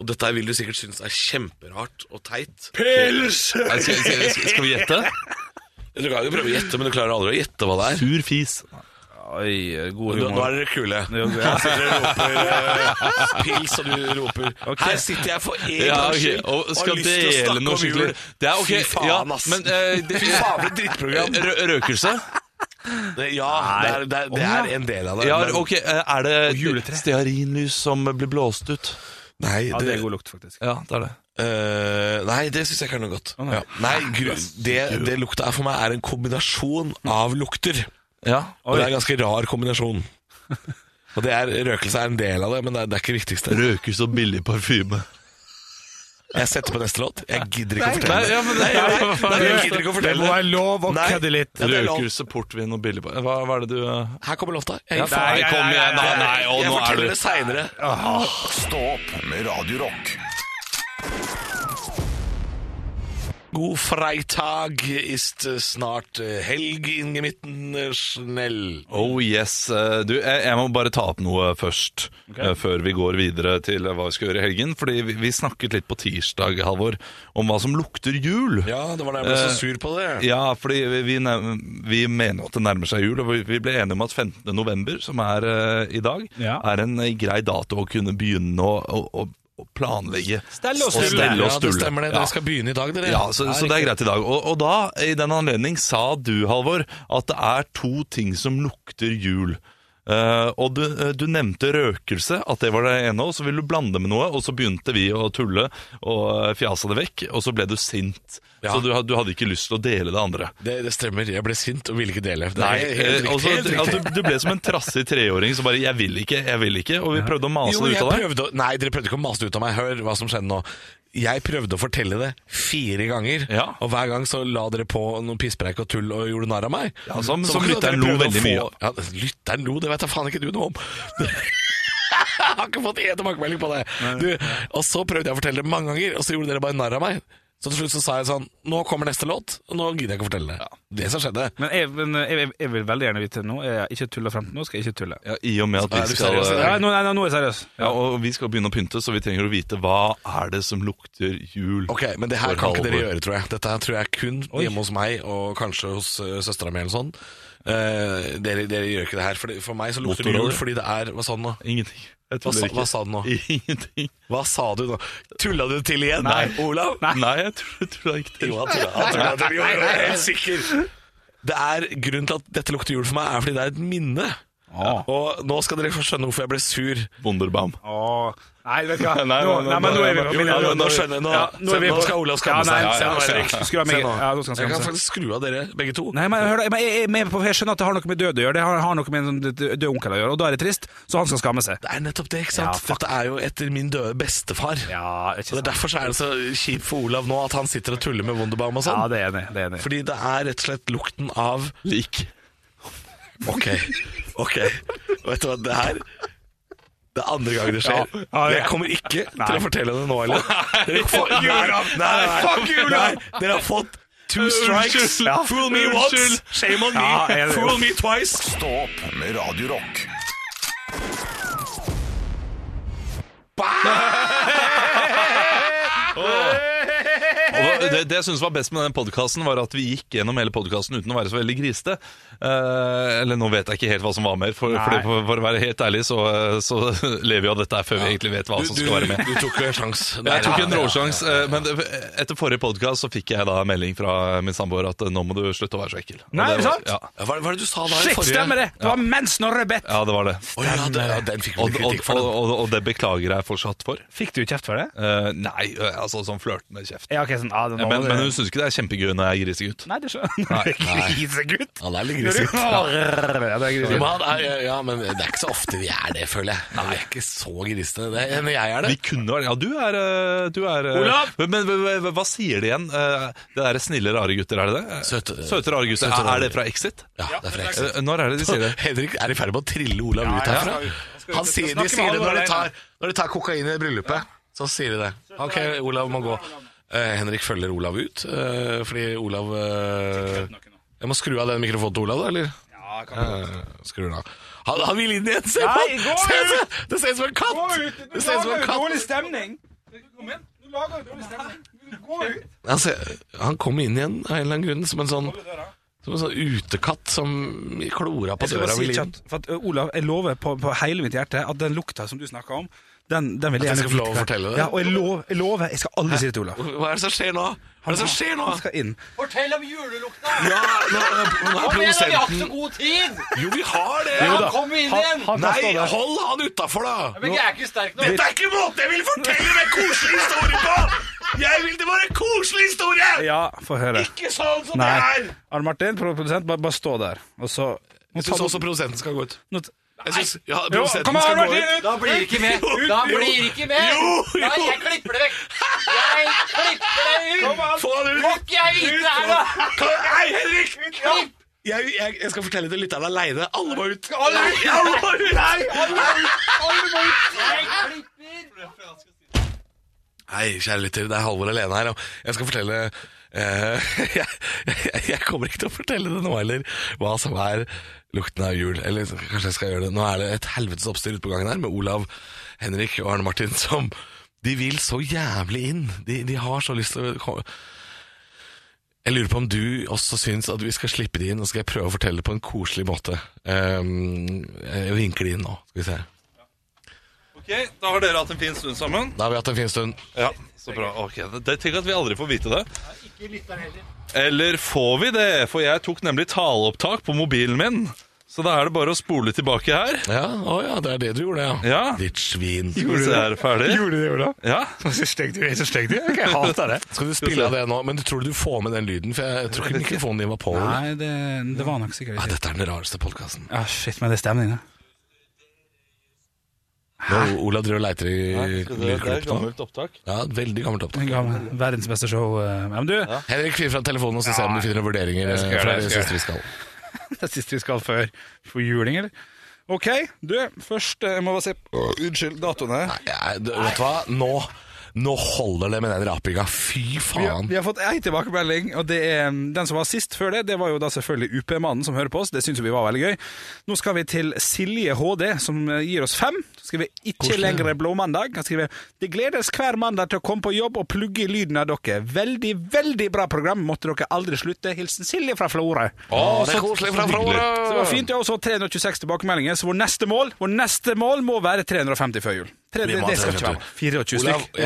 Speaker 3: Og dette vil du sikkert synes er kjemperart og teit. Pils!
Speaker 5: Nei, skal, skal, skal- skal vi gjette?
Speaker 3: Du kan jo prøve å gjette, men du klarer aldri å gjette hva det er.
Speaker 5: Sur fis.
Speaker 4: Oi, god
Speaker 3: Nå, nå er dere kule.
Speaker 4: Jo,
Speaker 3: Her
Speaker 4: ja.
Speaker 3: sitter dere og roper eh, pils, og du roper
Speaker 4: Ok.
Speaker 3: Her sitter jeg for én
Speaker 5: Ja,
Speaker 3: gangs
Speaker 5: ok,
Speaker 3: skyld
Speaker 5: og skal
Speaker 3: lyst til å
Speaker 5: dele
Speaker 3: snakke om
Speaker 5: noe
Speaker 3: jul.
Speaker 5: skikkelig Det er ok,
Speaker 3: Fy faen,
Speaker 5: ja,
Speaker 3: ass.
Speaker 5: men eh, det,
Speaker 3: Fy faen, for et drittprogram.
Speaker 5: Rø Røkelse?
Speaker 3: Det, ja, det er, det, er, det er en del av det.
Speaker 5: Ja,
Speaker 3: men-
Speaker 5: ok, eh, er det stearinlys som blir blåst ut?
Speaker 3: Nei,
Speaker 4: Ja, det
Speaker 3: det,
Speaker 4: er god lukt, faktisk.
Speaker 5: Ja, det er det.
Speaker 3: Eh, nei, det syns jeg ikke er noe godt.
Speaker 4: nei.
Speaker 3: Ja. Nei, gru, det, det lukta er for meg er en kombinasjon av lukter.
Speaker 5: Ja,
Speaker 3: Og det er en ganske rar kombinasjon. Og det er, Røkelse er en del av det, men det er, det er ikke det viktigste.
Speaker 5: Røkelse og billig parfyme.
Speaker 3: Jeg setter på neste låt. Jeg gidder ikke å
Speaker 5: Nei,
Speaker 3: fortelle det.
Speaker 5: ja, men det,
Speaker 3: Nei, nei, nei, jeg gidder ikke å
Speaker 4: Det
Speaker 3: fortelle
Speaker 4: må
Speaker 3: det.
Speaker 4: være lov å
Speaker 3: Nei.
Speaker 4: kødde litt.
Speaker 3: Ja, det er lov.
Speaker 5: Røkelse, portvin og billig hva, hva er det du eh?
Speaker 3: Her kommer låta. Jeg,
Speaker 5: Ja,
Speaker 3: faen,
Speaker 5: nei,
Speaker 3: jeg,
Speaker 5: kom igjen, da. Nei, å,
Speaker 3: jeg
Speaker 5: nå er
Speaker 3: forteller
Speaker 5: du
Speaker 3: det seinere.
Speaker 1: Stå opp med Radio Rock.
Speaker 3: God freitag ist snart eh, helg inn i midten eh, snell.
Speaker 5: Oh yes. Eh, Du, jeg, jeg må bare ta opp noe først, eh, før vi går videre til hva vi skal gjøre i helgen. Fordi vi, vi snakket litt på tirsdag, Halvor, om hva som lukter jul.
Speaker 3: Ja, det var da jeg ble
Speaker 5: Eh,
Speaker 3: så sur på det.
Speaker 5: Ja, fordi vi, vi, nev- vi mener jo at det nærmer seg jul, og vi- vi ble enige om at 15. november, som er eh, i dag,
Speaker 4: Ja.
Speaker 5: er en eh, grei dato å kunne begynne å, å, å- å planlegge.
Speaker 4: Stelle og
Speaker 5: Og
Speaker 4: stulle.
Speaker 5: stelle og
Speaker 3: Ja, det
Speaker 5: stulle.
Speaker 3: stemmer det.
Speaker 5: Ja.
Speaker 3: Dere skal begynne i dag, dere.
Speaker 5: Ja, så, så det er greit i dag. Og, og da, i den anledning, sa du, Halvor, at det er to ting som lukter jul. Eh, og du, eh, du nevnte røkelse, at det var det ene, og så ville du blande det med noe, og så begynte vi å tulle og eh, fjase det vekk, og så ble du sint.
Speaker 3: Ja.
Speaker 5: Så du, had- du hadde ikke lyst til å dele det andre.
Speaker 3: Det, det stemmer. Jeg ble sint og ville ikke dele. Det er
Speaker 5: Nei,
Speaker 3: helt
Speaker 5: eh,
Speaker 3: riktig,
Speaker 5: altså,
Speaker 3: helt riktig.
Speaker 5: at du, du ble som en trassig treåring som bare 'jeg vil ikke, jeg vil ikke', og vi prøvde å mase
Speaker 3: Jo,
Speaker 5: det
Speaker 3: jeg
Speaker 5: ut av deg.
Speaker 3: prøvde å, Nei, dere prøvde ikke å mase det ut av meg. Hør hva som skjedde nå. Jeg prøvde å fortelle det fire ganger,
Speaker 5: Ja.
Speaker 3: og hver gang så la dere på noen pisspreik og tull og gjorde narr av meg.
Speaker 5: Ja, som-
Speaker 3: Så
Speaker 5: som
Speaker 3: var ikke sånn at dere
Speaker 5: lytteren lo
Speaker 3: prøvde å
Speaker 5: veldig
Speaker 3: få- Ja, lytteren lo, det vet jeg faen ikke du noe om. jeg har ikke fått én tilbakemelding på det. Du, og så prøvde jeg å fortelle det mange ganger, og så gjorde dere bare narr av meg. Så til slutt så sa jeg sånn Nå kommer neste låt, og nå gidder jeg ikke å fortelle det. Det som skjedde.
Speaker 4: Men jeg, men jeg, jeg, jeg vil veldig gjerne vite nå. Jeg har ikke tulla frem til nå, skal jeg ikke tulle.
Speaker 5: Ja, I og med at
Speaker 3: Er du
Speaker 5: vi skal
Speaker 3: seriøs i dag?
Speaker 4: Ja, nå, nei, nei, nå er jeg seriøs.
Speaker 5: Ja, og vi skal begynne å pynte, så vi trenger å vite hva er det som lukter jul.
Speaker 3: Ok, men det her
Speaker 5: for
Speaker 3: kan ikke dere
Speaker 5: Halvor.
Speaker 3: gjøre, tror jeg. Dette her tror jeg kun hjemme hos meg, og kanskje hos uh, søstera mi eller sånn. Eh, dere, dere gjør ikke det her. For, det, for meg så lukter det jul
Speaker 5: Motorola.
Speaker 3: fordi det er Hva sa du nå?
Speaker 5: Ingenting. Jeg
Speaker 3: Hva
Speaker 5: tuller
Speaker 3: sa,
Speaker 5: ikke.
Speaker 3: hva sa du nå?
Speaker 5: Ingenting.
Speaker 3: Hva sa du nå? Tulla du til igjen? Nei. Olav?
Speaker 5: Nei, jeg tuller, tuller ikke til.
Speaker 3: Jo, han tulla. Han tulla til igjen, jeg er helt sikker. Det er Grunnen til at dette lukter jul for meg, er fordi det er et minne.
Speaker 4: Ah.
Speaker 3: Og nå skal dere få skjønne hvorfor jeg ble sur.
Speaker 5: Wunderbaum.
Speaker 4: Åh, nei, vet du hva.
Speaker 5: Nei, nei,
Speaker 4: Nå,
Speaker 5: nei,
Speaker 4: nei, men nå er vi
Speaker 5: nei,
Speaker 4: på
Speaker 5: nei,
Speaker 3: Jo,
Speaker 5: nei,
Speaker 3: ja,
Speaker 5: nå-
Speaker 3: nå, nå
Speaker 5: nå-
Speaker 3: skjønner jeg. Nå,
Speaker 4: Ja, nå
Speaker 3: se,
Speaker 4: er vi
Speaker 3: nå
Speaker 4: på-
Speaker 3: skal Olav skamme
Speaker 4: Ja, nei,
Speaker 3: seg.
Speaker 4: se nå,
Speaker 3: Se
Speaker 4: Erik. Skru av meg-
Speaker 3: Se nå.
Speaker 4: ja, nå skal han skamme
Speaker 3: Jeg kan
Speaker 4: seg.
Speaker 3: faktisk skru av dere, begge to.
Speaker 4: Nei, men hør da, men jeg, jeg, er med på- jeg skjønner at det har noe med død å gjøre. Det har, har noe med en sånn død død onkel å gjøre, og da er det trist, så han skal skamme seg.
Speaker 3: Det er nettopp det, ikke
Speaker 4: Ja,
Speaker 3: sant?
Speaker 4: fuck.
Speaker 3: Dette er jo etter min døde bestefar.
Speaker 4: Ja,
Speaker 3: Og det er derfor så er det så kjipt for Olav nå at han sitter og tuller med Wunderbaum og sånn.
Speaker 4: Ja, det er enig. Det er enig.
Speaker 3: Fordi det er rett og slett lukten av
Speaker 5: Lik.
Speaker 3: Ok, ok. Vet du hva, det her Det er andre gang det skjer.
Speaker 4: Ja, ja, ja.
Speaker 3: Jeg kommer ikke til
Speaker 4: Nei.
Speaker 3: å fortelle det nå heller. Dere får Nei, nei, nei. Nei, Dere har fått two strikes.
Speaker 5: Unnskyld. Ja.
Speaker 3: Fool me once,
Speaker 5: Unnskyld.
Speaker 3: shame on
Speaker 4: Ja, jeg
Speaker 3: me.
Speaker 4: er det.
Speaker 3: Fool me twice.
Speaker 1: Stå opp med Radio Rock.
Speaker 5: Og det, det jeg syns var best med den podkasten, var at vi gikk gjennom hele podkasten uten å være så veldig grisete. Eh, eller nå vet jeg ikke helt hva som var mer, for,
Speaker 4: Nei.
Speaker 5: fordi for, for å være helt ærlig så, så lever vi av dette her før vi egentlig vet hva som skal være med.
Speaker 3: du tok jo en sjanse.
Speaker 5: Jeg tok en råsjanse, eh, men det- etter forrige podkast så fikk jeg da en melding fra min samboer at eh, nå må du slutte å være så ekkel. Og
Speaker 4: Nei, er
Speaker 5: det
Speaker 4: det
Speaker 5: var-
Speaker 4: sant?
Speaker 5: Ja.
Speaker 3: Hva hva er det du sa da? i
Speaker 4: Shit,
Speaker 3: forrige-
Speaker 4: stemmer det! Det var mens Snorre bedt.
Speaker 5: ja, det var det.
Speaker 3: Å ja, det,
Speaker 4: eh,
Speaker 3: ja, den fikk vi
Speaker 5: Og,
Speaker 3: litt
Speaker 5: og,
Speaker 3: kritikk for.
Speaker 5: og,
Speaker 3: Den.
Speaker 5: og, og det beklager jeg fortsatt for.
Speaker 4: Fikk du kjeft for det?
Speaker 5: Eh, nei, eh, altså sånn flørtende kjeft.
Speaker 4: Ja, ok, sånn, ah, det, nå,
Speaker 5: men,
Speaker 4: må
Speaker 5: men
Speaker 4: du-
Speaker 5: hun syns ikke det er kjempegøy når jeg er grisegutt.
Speaker 4: Nei, det skjønner jeg. Grisegutt!
Speaker 3: Han er litt
Speaker 4: Når du-
Speaker 3: grisegutt.
Speaker 4: Ja, det er
Speaker 3: Jo, men
Speaker 4: grisegutt.
Speaker 3: han er- Ja, ja, men det er ikke så ofte vi er det, føler jeg. Vi er ikke så grisete. Det er, når jeg er
Speaker 5: Vi
Speaker 3: det.
Speaker 5: kunne vært Ja, du er, eh, du er eh,
Speaker 4: Olav!
Speaker 5: Men, men, men, men hva sier det igjen? Eh, Det derre snille, rare gutter, er det det?
Speaker 3: Søte-
Speaker 5: Søte, rare gutter.
Speaker 3: Søte, rare-
Speaker 5: Er det fra Exit?
Speaker 3: Ja, det er fra Exit.
Speaker 5: Eh, Når er det de sier det?
Speaker 3: Henrik er i ferd med å trille Olav ut
Speaker 4: ja,
Speaker 3: herfra.
Speaker 4: han skal ut.
Speaker 3: Han
Speaker 4: Jeg
Speaker 3: sier,
Speaker 4: skal
Speaker 3: de
Speaker 4: snakke med
Speaker 3: sier det
Speaker 4: Halvor
Speaker 3: når de,
Speaker 4: alene.
Speaker 3: tar, når de tar kokain i bryllupet. Så sier de det. Ok, Olav må gå. Eh, Henrik følger Olav ut, eh, fordi Olav eh, Jeg må skru av den mikrofonen til Olav, da, eller?
Speaker 4: Ja, kan du-
Speaker 3: Eh, Skru den av. Han, han vil inn igjen! Se på
Speaker 4: Nei,
Speaker 3: han!
Speaker 4: gå
Speaker 3: Se, se.
Speaker 4: ut!
Speaker 3: Det ser ut som en
Speaker 4: Gå
Speaker 3: katt!
Speaker 4: ut! Du
Speaker 3: Det ser ut som
Speaker 4: lager
Speaker 3: en
Speaker 4: jo
Speaker 3: katt.
Speaker 4: dårlig stemning! Kom igjen, du lager jo dårlig stemning. Gå ut!
Speaker 3: Han, ser, Altså, han kom inn igjen av en eller annen grunn, som en sånn Som en sånn utekatt som klora på
Speaker 4: Jeg skal bare
Speaker 3: døra
Speaker 4: si
Speaker 3: vil inn.
Speaker 4: kjapt, for at, ø, Olav, jeg lover på, på hele mitt hjerte at den lukta som du snakka om, den, den vil jeg
Speaker 3: At jeg
Speaker 4: gjerne
Speaker 3: skal få lov å
Speaker 4: vite hva-
Speaker 3: fortelle det?
Speaker 4: Ja, og jeg lover, jeg, lover, jeg skal aldri si det til Olav.
Speaker 3: Hva er det som skjer nå? Hva er det som skjer nå?
Speaker 4: Han skal inn.
Speaker 6: Fortell om julelukta!
Speaker 3: Ja, nå, nå, nå er
Speaker 6: Kom igjen, da, vi har ikke så
Speaker 3: produsenten
Speaker 6: god tid!
Speaker 3: Jo, vi har det!
Speaker 6: Ja, kom inn igjen!
Speaker 4: Han kan stå
Speaker 3: Nei,
Speaker 4: der.
Speaker 3: hold han utafor, da!
Speaker 6: Men jeg er ikke sterk nok.
Speaker 3: Dette er ikke måten jeg vil fortelle meg koselig historie på! Jeg vil det var en koselig historie!
Speaker 4: Ja, få høre.
Speaker 3: Ikke sånn som det
Speaker 4: Nei.
Speaker 3: er!
Speaker 4: Arne Martin, produsent, bare, bare stå der. Og så sånn-
Speaker 3: Jeg syns også produsenten skal gå ut.
Speaker 4: Nå ta-
Speaker 3: Jeg synes, ja,
Speaker 4: Jo,
Speaker 3: produsenten
Speaker 4: Kom an,
Speaker 3: skal gå
Speaker 4: Martin!
Speaker 3: ut.
Speaker 4: ut!
Speaker 6: Da blir det ikke med.
Speaker 3: Jo,
Speaker 6: Da
Speaker 3: jo.
Speaker 6: blir det ikke med.
Speaker 3: Jo, jo.
Speaker 6: Nei, jeg klipper det vekk. Jeg klipper deg ut!
Speaker 3: Få han ut!
Speaker 6: Må ikke jeg vite det her, da?
Speaker 3: Kan- Nei, Henrik!
Speaker 6: Klipp!
Speaker 3: Jeg, jeg, jeg skal fortelle det lytterne aleine. Alle må ut!
Speaker 6: Alle ut!
Speaker 3: Alle må ut!
Speaker 6: Jeg klipper!
Speaker 3: Hei, kjære lytter. Det er Halvor alene her. og Jeg skal fortelle eh, jeg, jeg, jeg kommer ikke til å fortelle det nå heller, hva som er lukten av jul. Eller så- kanskje jeg skal gjøre det. Nå er det et helvetes oppstyr ute på gangen her med Olav, Henrik og Arne Martin som De vil så jævlig inn. De, de har så lyst til å komme Jeg lurer på om du også syns at vi skal slippe de inn, og skal jeg prøve å fortelle det på en koselig måte. Um, jeg vinker de inn nå, skal vi se.
Speaker 5: Ok, Da har dere hatt en fin stund sammen.
Speaker 3: Da har vi hatt en fin stund.
Speaker 5: Ja, så bra. Ok, det, Tenk at vi aldri får vite det. Eller får vi det? For jeg tok nemlig taleopptak på mobilen min. Så da er det bare å spole tilbake her.
Speaker 3: Ja, å ja, det er det du gjorde, ja.
Speaker 5: Ja.
Speaker 3: Ditt svin.
Speaker 5: Skal vi se her, ferdig.
Speaker 4: Gjorde du det, Olav?
Speaker 5: Ja.
Speaker 4: Så stygg du er, så stygg du er. Jeg hater det.
Speaker 3: Skal du spille av det nå? Men du tror du får med den lyden? For jeg tror ikke mikrofonen din var på. eller?
Speaker 4: Nei, det, det var nok sikkert
Speaker 3: Ja,
Speaker 4: ikke.
Speaker 3: dette er den rareste podkasten.
Speaker 4: Ja, shit, men det er stemningen.
Speaker 3: Olav driver og leiter i
Speaker 5: Det er
Speaker 3: lydklipp nå.
Speaker 5: gammelt opptak.
Speaker 3: Ja, et veldig gammelt opptak.
Speaker 4: En gammel Verdens beste show. eh, Ja, men du,
Speaker 3: Henrik, fyr fra telefonen og så ser vi om du finner noen vurderinger. eh,
Speaker 4: gjøre
Speaker 3: for
Speaker 4: det,
Speaker 3: det
Speaker 4: jeg skal
Speaker 3: siste vi skal.
Speaker 4: det er siste vi skal før for juling, eller? Ok, du, først eh, må vi se på Unnskyld, datoene.
Speaker 3: Nei, jeg- du- vet du hva? Nå, nå holder det med den rapinga. Fy
Speaker 4: Vi har,
Speaker 3: faen.
Speaker 4: vi har fått ei tilbakemelding, og det er um, den som var sist før det. Det var jo da selvfølgelig UP-mannen som hører på oss. Det syns vi var veldig gøy. Nå skal vi til Silje HD, som eh, gir oss fem. Så skriver ikke
Speaker 3: Koselig.
Speaker 4: lenger blåmandag. Han skriver det gledes hver mandag til å komme på jobb og plugge i lyden av dere. Veldig, veldig bra program. Måtte dere aldri slutte. Hilsen Silje fra Florø.
Speaker 3: Å, det er koselig fra
Speaker 4: Så det
Speaker 3: Florø!
Speaker 4: var fint. Jeg har også fått 326 tilbakemeldinger, så vår neste mål, vår neste mål må være 350 før jul. Tre,
Speaker 3: Vi
Speaker 4: det,
Speaker 3: må ha
Speaker 4: det skal ikke
Speaker 3: 350.
Speaker 4: være 24
Speaker 3: Olav,
Speaker 4: stykk.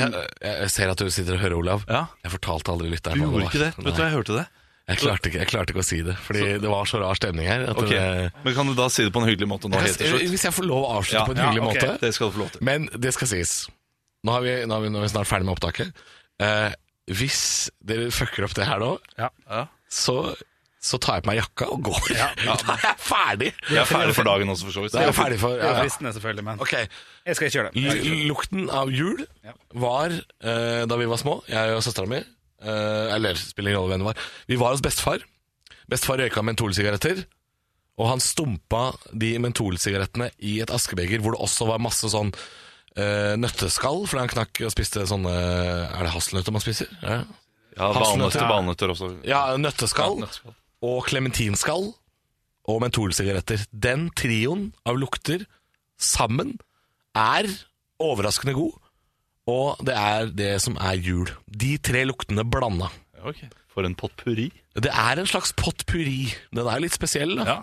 Speaker 3: jeg, jeg ser at du sitter og hører, Olav.
Speaker 5: Ja.
Speaker 3: Jeg fortalte aldri lytteren
Speaker 5: Du
Speaker 3: hva
Speaker 5: gjorde ikke det.
Speaker 3: var.
Speaker 5: Vet du hva, jeg hørte det.
Speaker 3: Jeg klarte, ikke, jeg klarte ikke å si det, fordi det var så rar stemning her. At
Speaker 5: Ok,
Speaker 3: det,
Speaker 5: Men kan du da si det på en hyggelig måte nå helt til slutt?
Speaker 3: hvis jeg får lov å avslutte
Speaker 5: Ja,
Speaker 3: på en
Speaker 5: ja,
Speaker 3: hyggelig
Speaker 5: ok,
Speaker 3: måte
Speaker 5: Det skal du få lov til.
Speaker 3: Men det skal sies. Nå er vi, nå er vi, nå er vi snart ferdig med opptaket. Eh, hvis dere fucker opp det her nå,
Speaker 5: Ja.
Speaker 3: så, så tar jeg på meg jakka og går. da er jeg ferdig!
Speaker 5: Jeg er ferdig for dagen også, for så vidt.
Speaker 3: Da er jeg ferdig for
Speaker 4: Det
Speaker 3: ja, Mm.
Speaker 4: er
Speaker 3: ja.
Speaker 4: fristende, selvfølgelig, men
Speaker 3: Ok,
Speaker 4: jeg skal ikke gjøre det.
Speaker 3: L Lukten av jul var eh, da vi var små, jeg og søstera mi eh, Eller spiller ingen rolle hvem det var. Vi var hos bestefar. Bestefar røyka mentolsigaretter. Og han stumpa de mentolsigarettene i et askebeger hvor det også var masse sånn eh, nøtteskall, fordi han knakk og spiste sånne Er det hasselnøtter man spiser? Ja,
Speaker 5: Ja,
Speaker 3: Hasselnøtter.
Speaker 5: Valnøtter, valnøtter også.
Speaker 3: ja nøtteskall
Speaker 5: Ja, nøtteskall.
Speaker 3: og klementinskall og mentolsigaretter. Den trioen av lukter sammen er overraskende god, og det er det som er jul. De tre luktene blanda.
Speaker 5: Ok, For en potpurri.
Speaker 3: Det er en slags potpurri. Den er litt spesiell, da.
Speaker 5: Ja.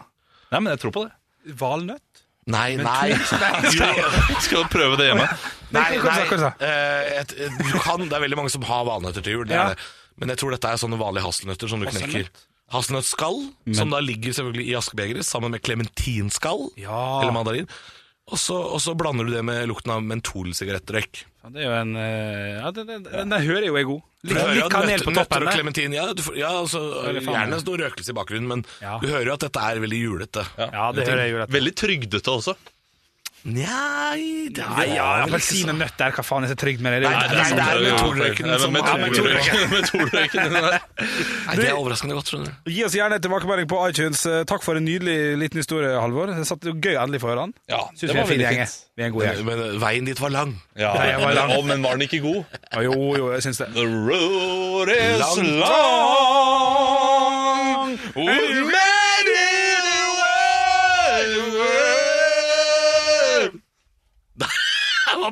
Speaker 5: Nei, men jeg tror på det.
Speaker 4: Valnøtt?
Speaker 3: Nei, nei.
Speaker 5: Skal du prøve det hjemme?
Speaker 3: Nei,
Speaker 4: Hva sa-
Speaker 3: nei
Speaker 4: hva sa-
Speaker 3: eh, et, et- du kan, Det er veldig mange som har valnøtter til jul, det
Speaker 4: Ja.
Speaker 3: er det. men jeg tror dette er sånne vanlige hasselnøtter som du knekker.
Speaker 4: Hasselnøtt?
Speaker 3: Hasselnøttskall, som da ligger selvfølgelig i askebegeret, sammen med klementinskall
Speaker 4: Ja.
Speaker 3: eller mandarin. Og så, og så blander du det med lukten av mentolsigarettrøyk.
Speaker 4: Ja, Det er jo en eh, Ja, den, den, den der hører jo jeg god.
Speaker 3: Du
Speaker 4: Litt,
Speaker 3: hører
Speaker 4: litt
Speaker 3: at
Speaker 4: kanel
Speaker 3: nøtter-
Speaker 4: på
Speaker 3: Nøtter
Speaker 4: toppen.
Speaker 3: og
Speaker 4: der.
Speaker 3: klementin, ja, du får- ja altså,
Speaker 4: Eller faen,
Speaker 3: gjerne
Speaker 4: ja.
Speaker 3: noe røkelse i bakgrunnen, men
Speaker 4: Ja.
Speaker 3: du hører jo at dette er veldig julete.
Speaker 4: Ja, det hører jeg jo rett.
Speaker 5: Veldig trygdete også.
Speaker 3: Nei, det
Speaker 4: Nei,
Speaker 3: er
Speaker 4: ja,
Speaker 3: vel ikke
Speaker 4: appelsin og
Speaker 3: så-
Speaker 4: nøtt der, hva faen er så trygt med det? Det er liksom- jo-
Speaker 3: Nei, det er- det er- mentolrøyken
Speaker 5: Nei,
Speaker 3: som-
Speaker 5: men
Speaker 3: liksom. Ja,
Speaker 5: mentolrøyken- mentolrøyken, den der.
Speaker 3: Nei, det er overraskende godt, skjønner du.
Speaker 4: Gi oss gjerne tilbakemelding på iTunes. Eh, Takk for en nydelig liten historie, Halvor. Det satt jo gøy endelig for ørene.
Speaker 5: Ja,
Speaker 4: Syns vi er en fin gjeng. eh. Vi er en god gjeng.
Speaker 3: Men, men veien dit var lang.
Speaker 5: Ja,
Speaker 4: jeg var lang.
Speaker 5: men- å, men var den ikke god?
Speaker 4: Ja, jo, jo, jeg syns det.
Speaker 5: The road is
Speaker 3: Lang.
Speaker 5: long with many ways.
Speaker 3: Det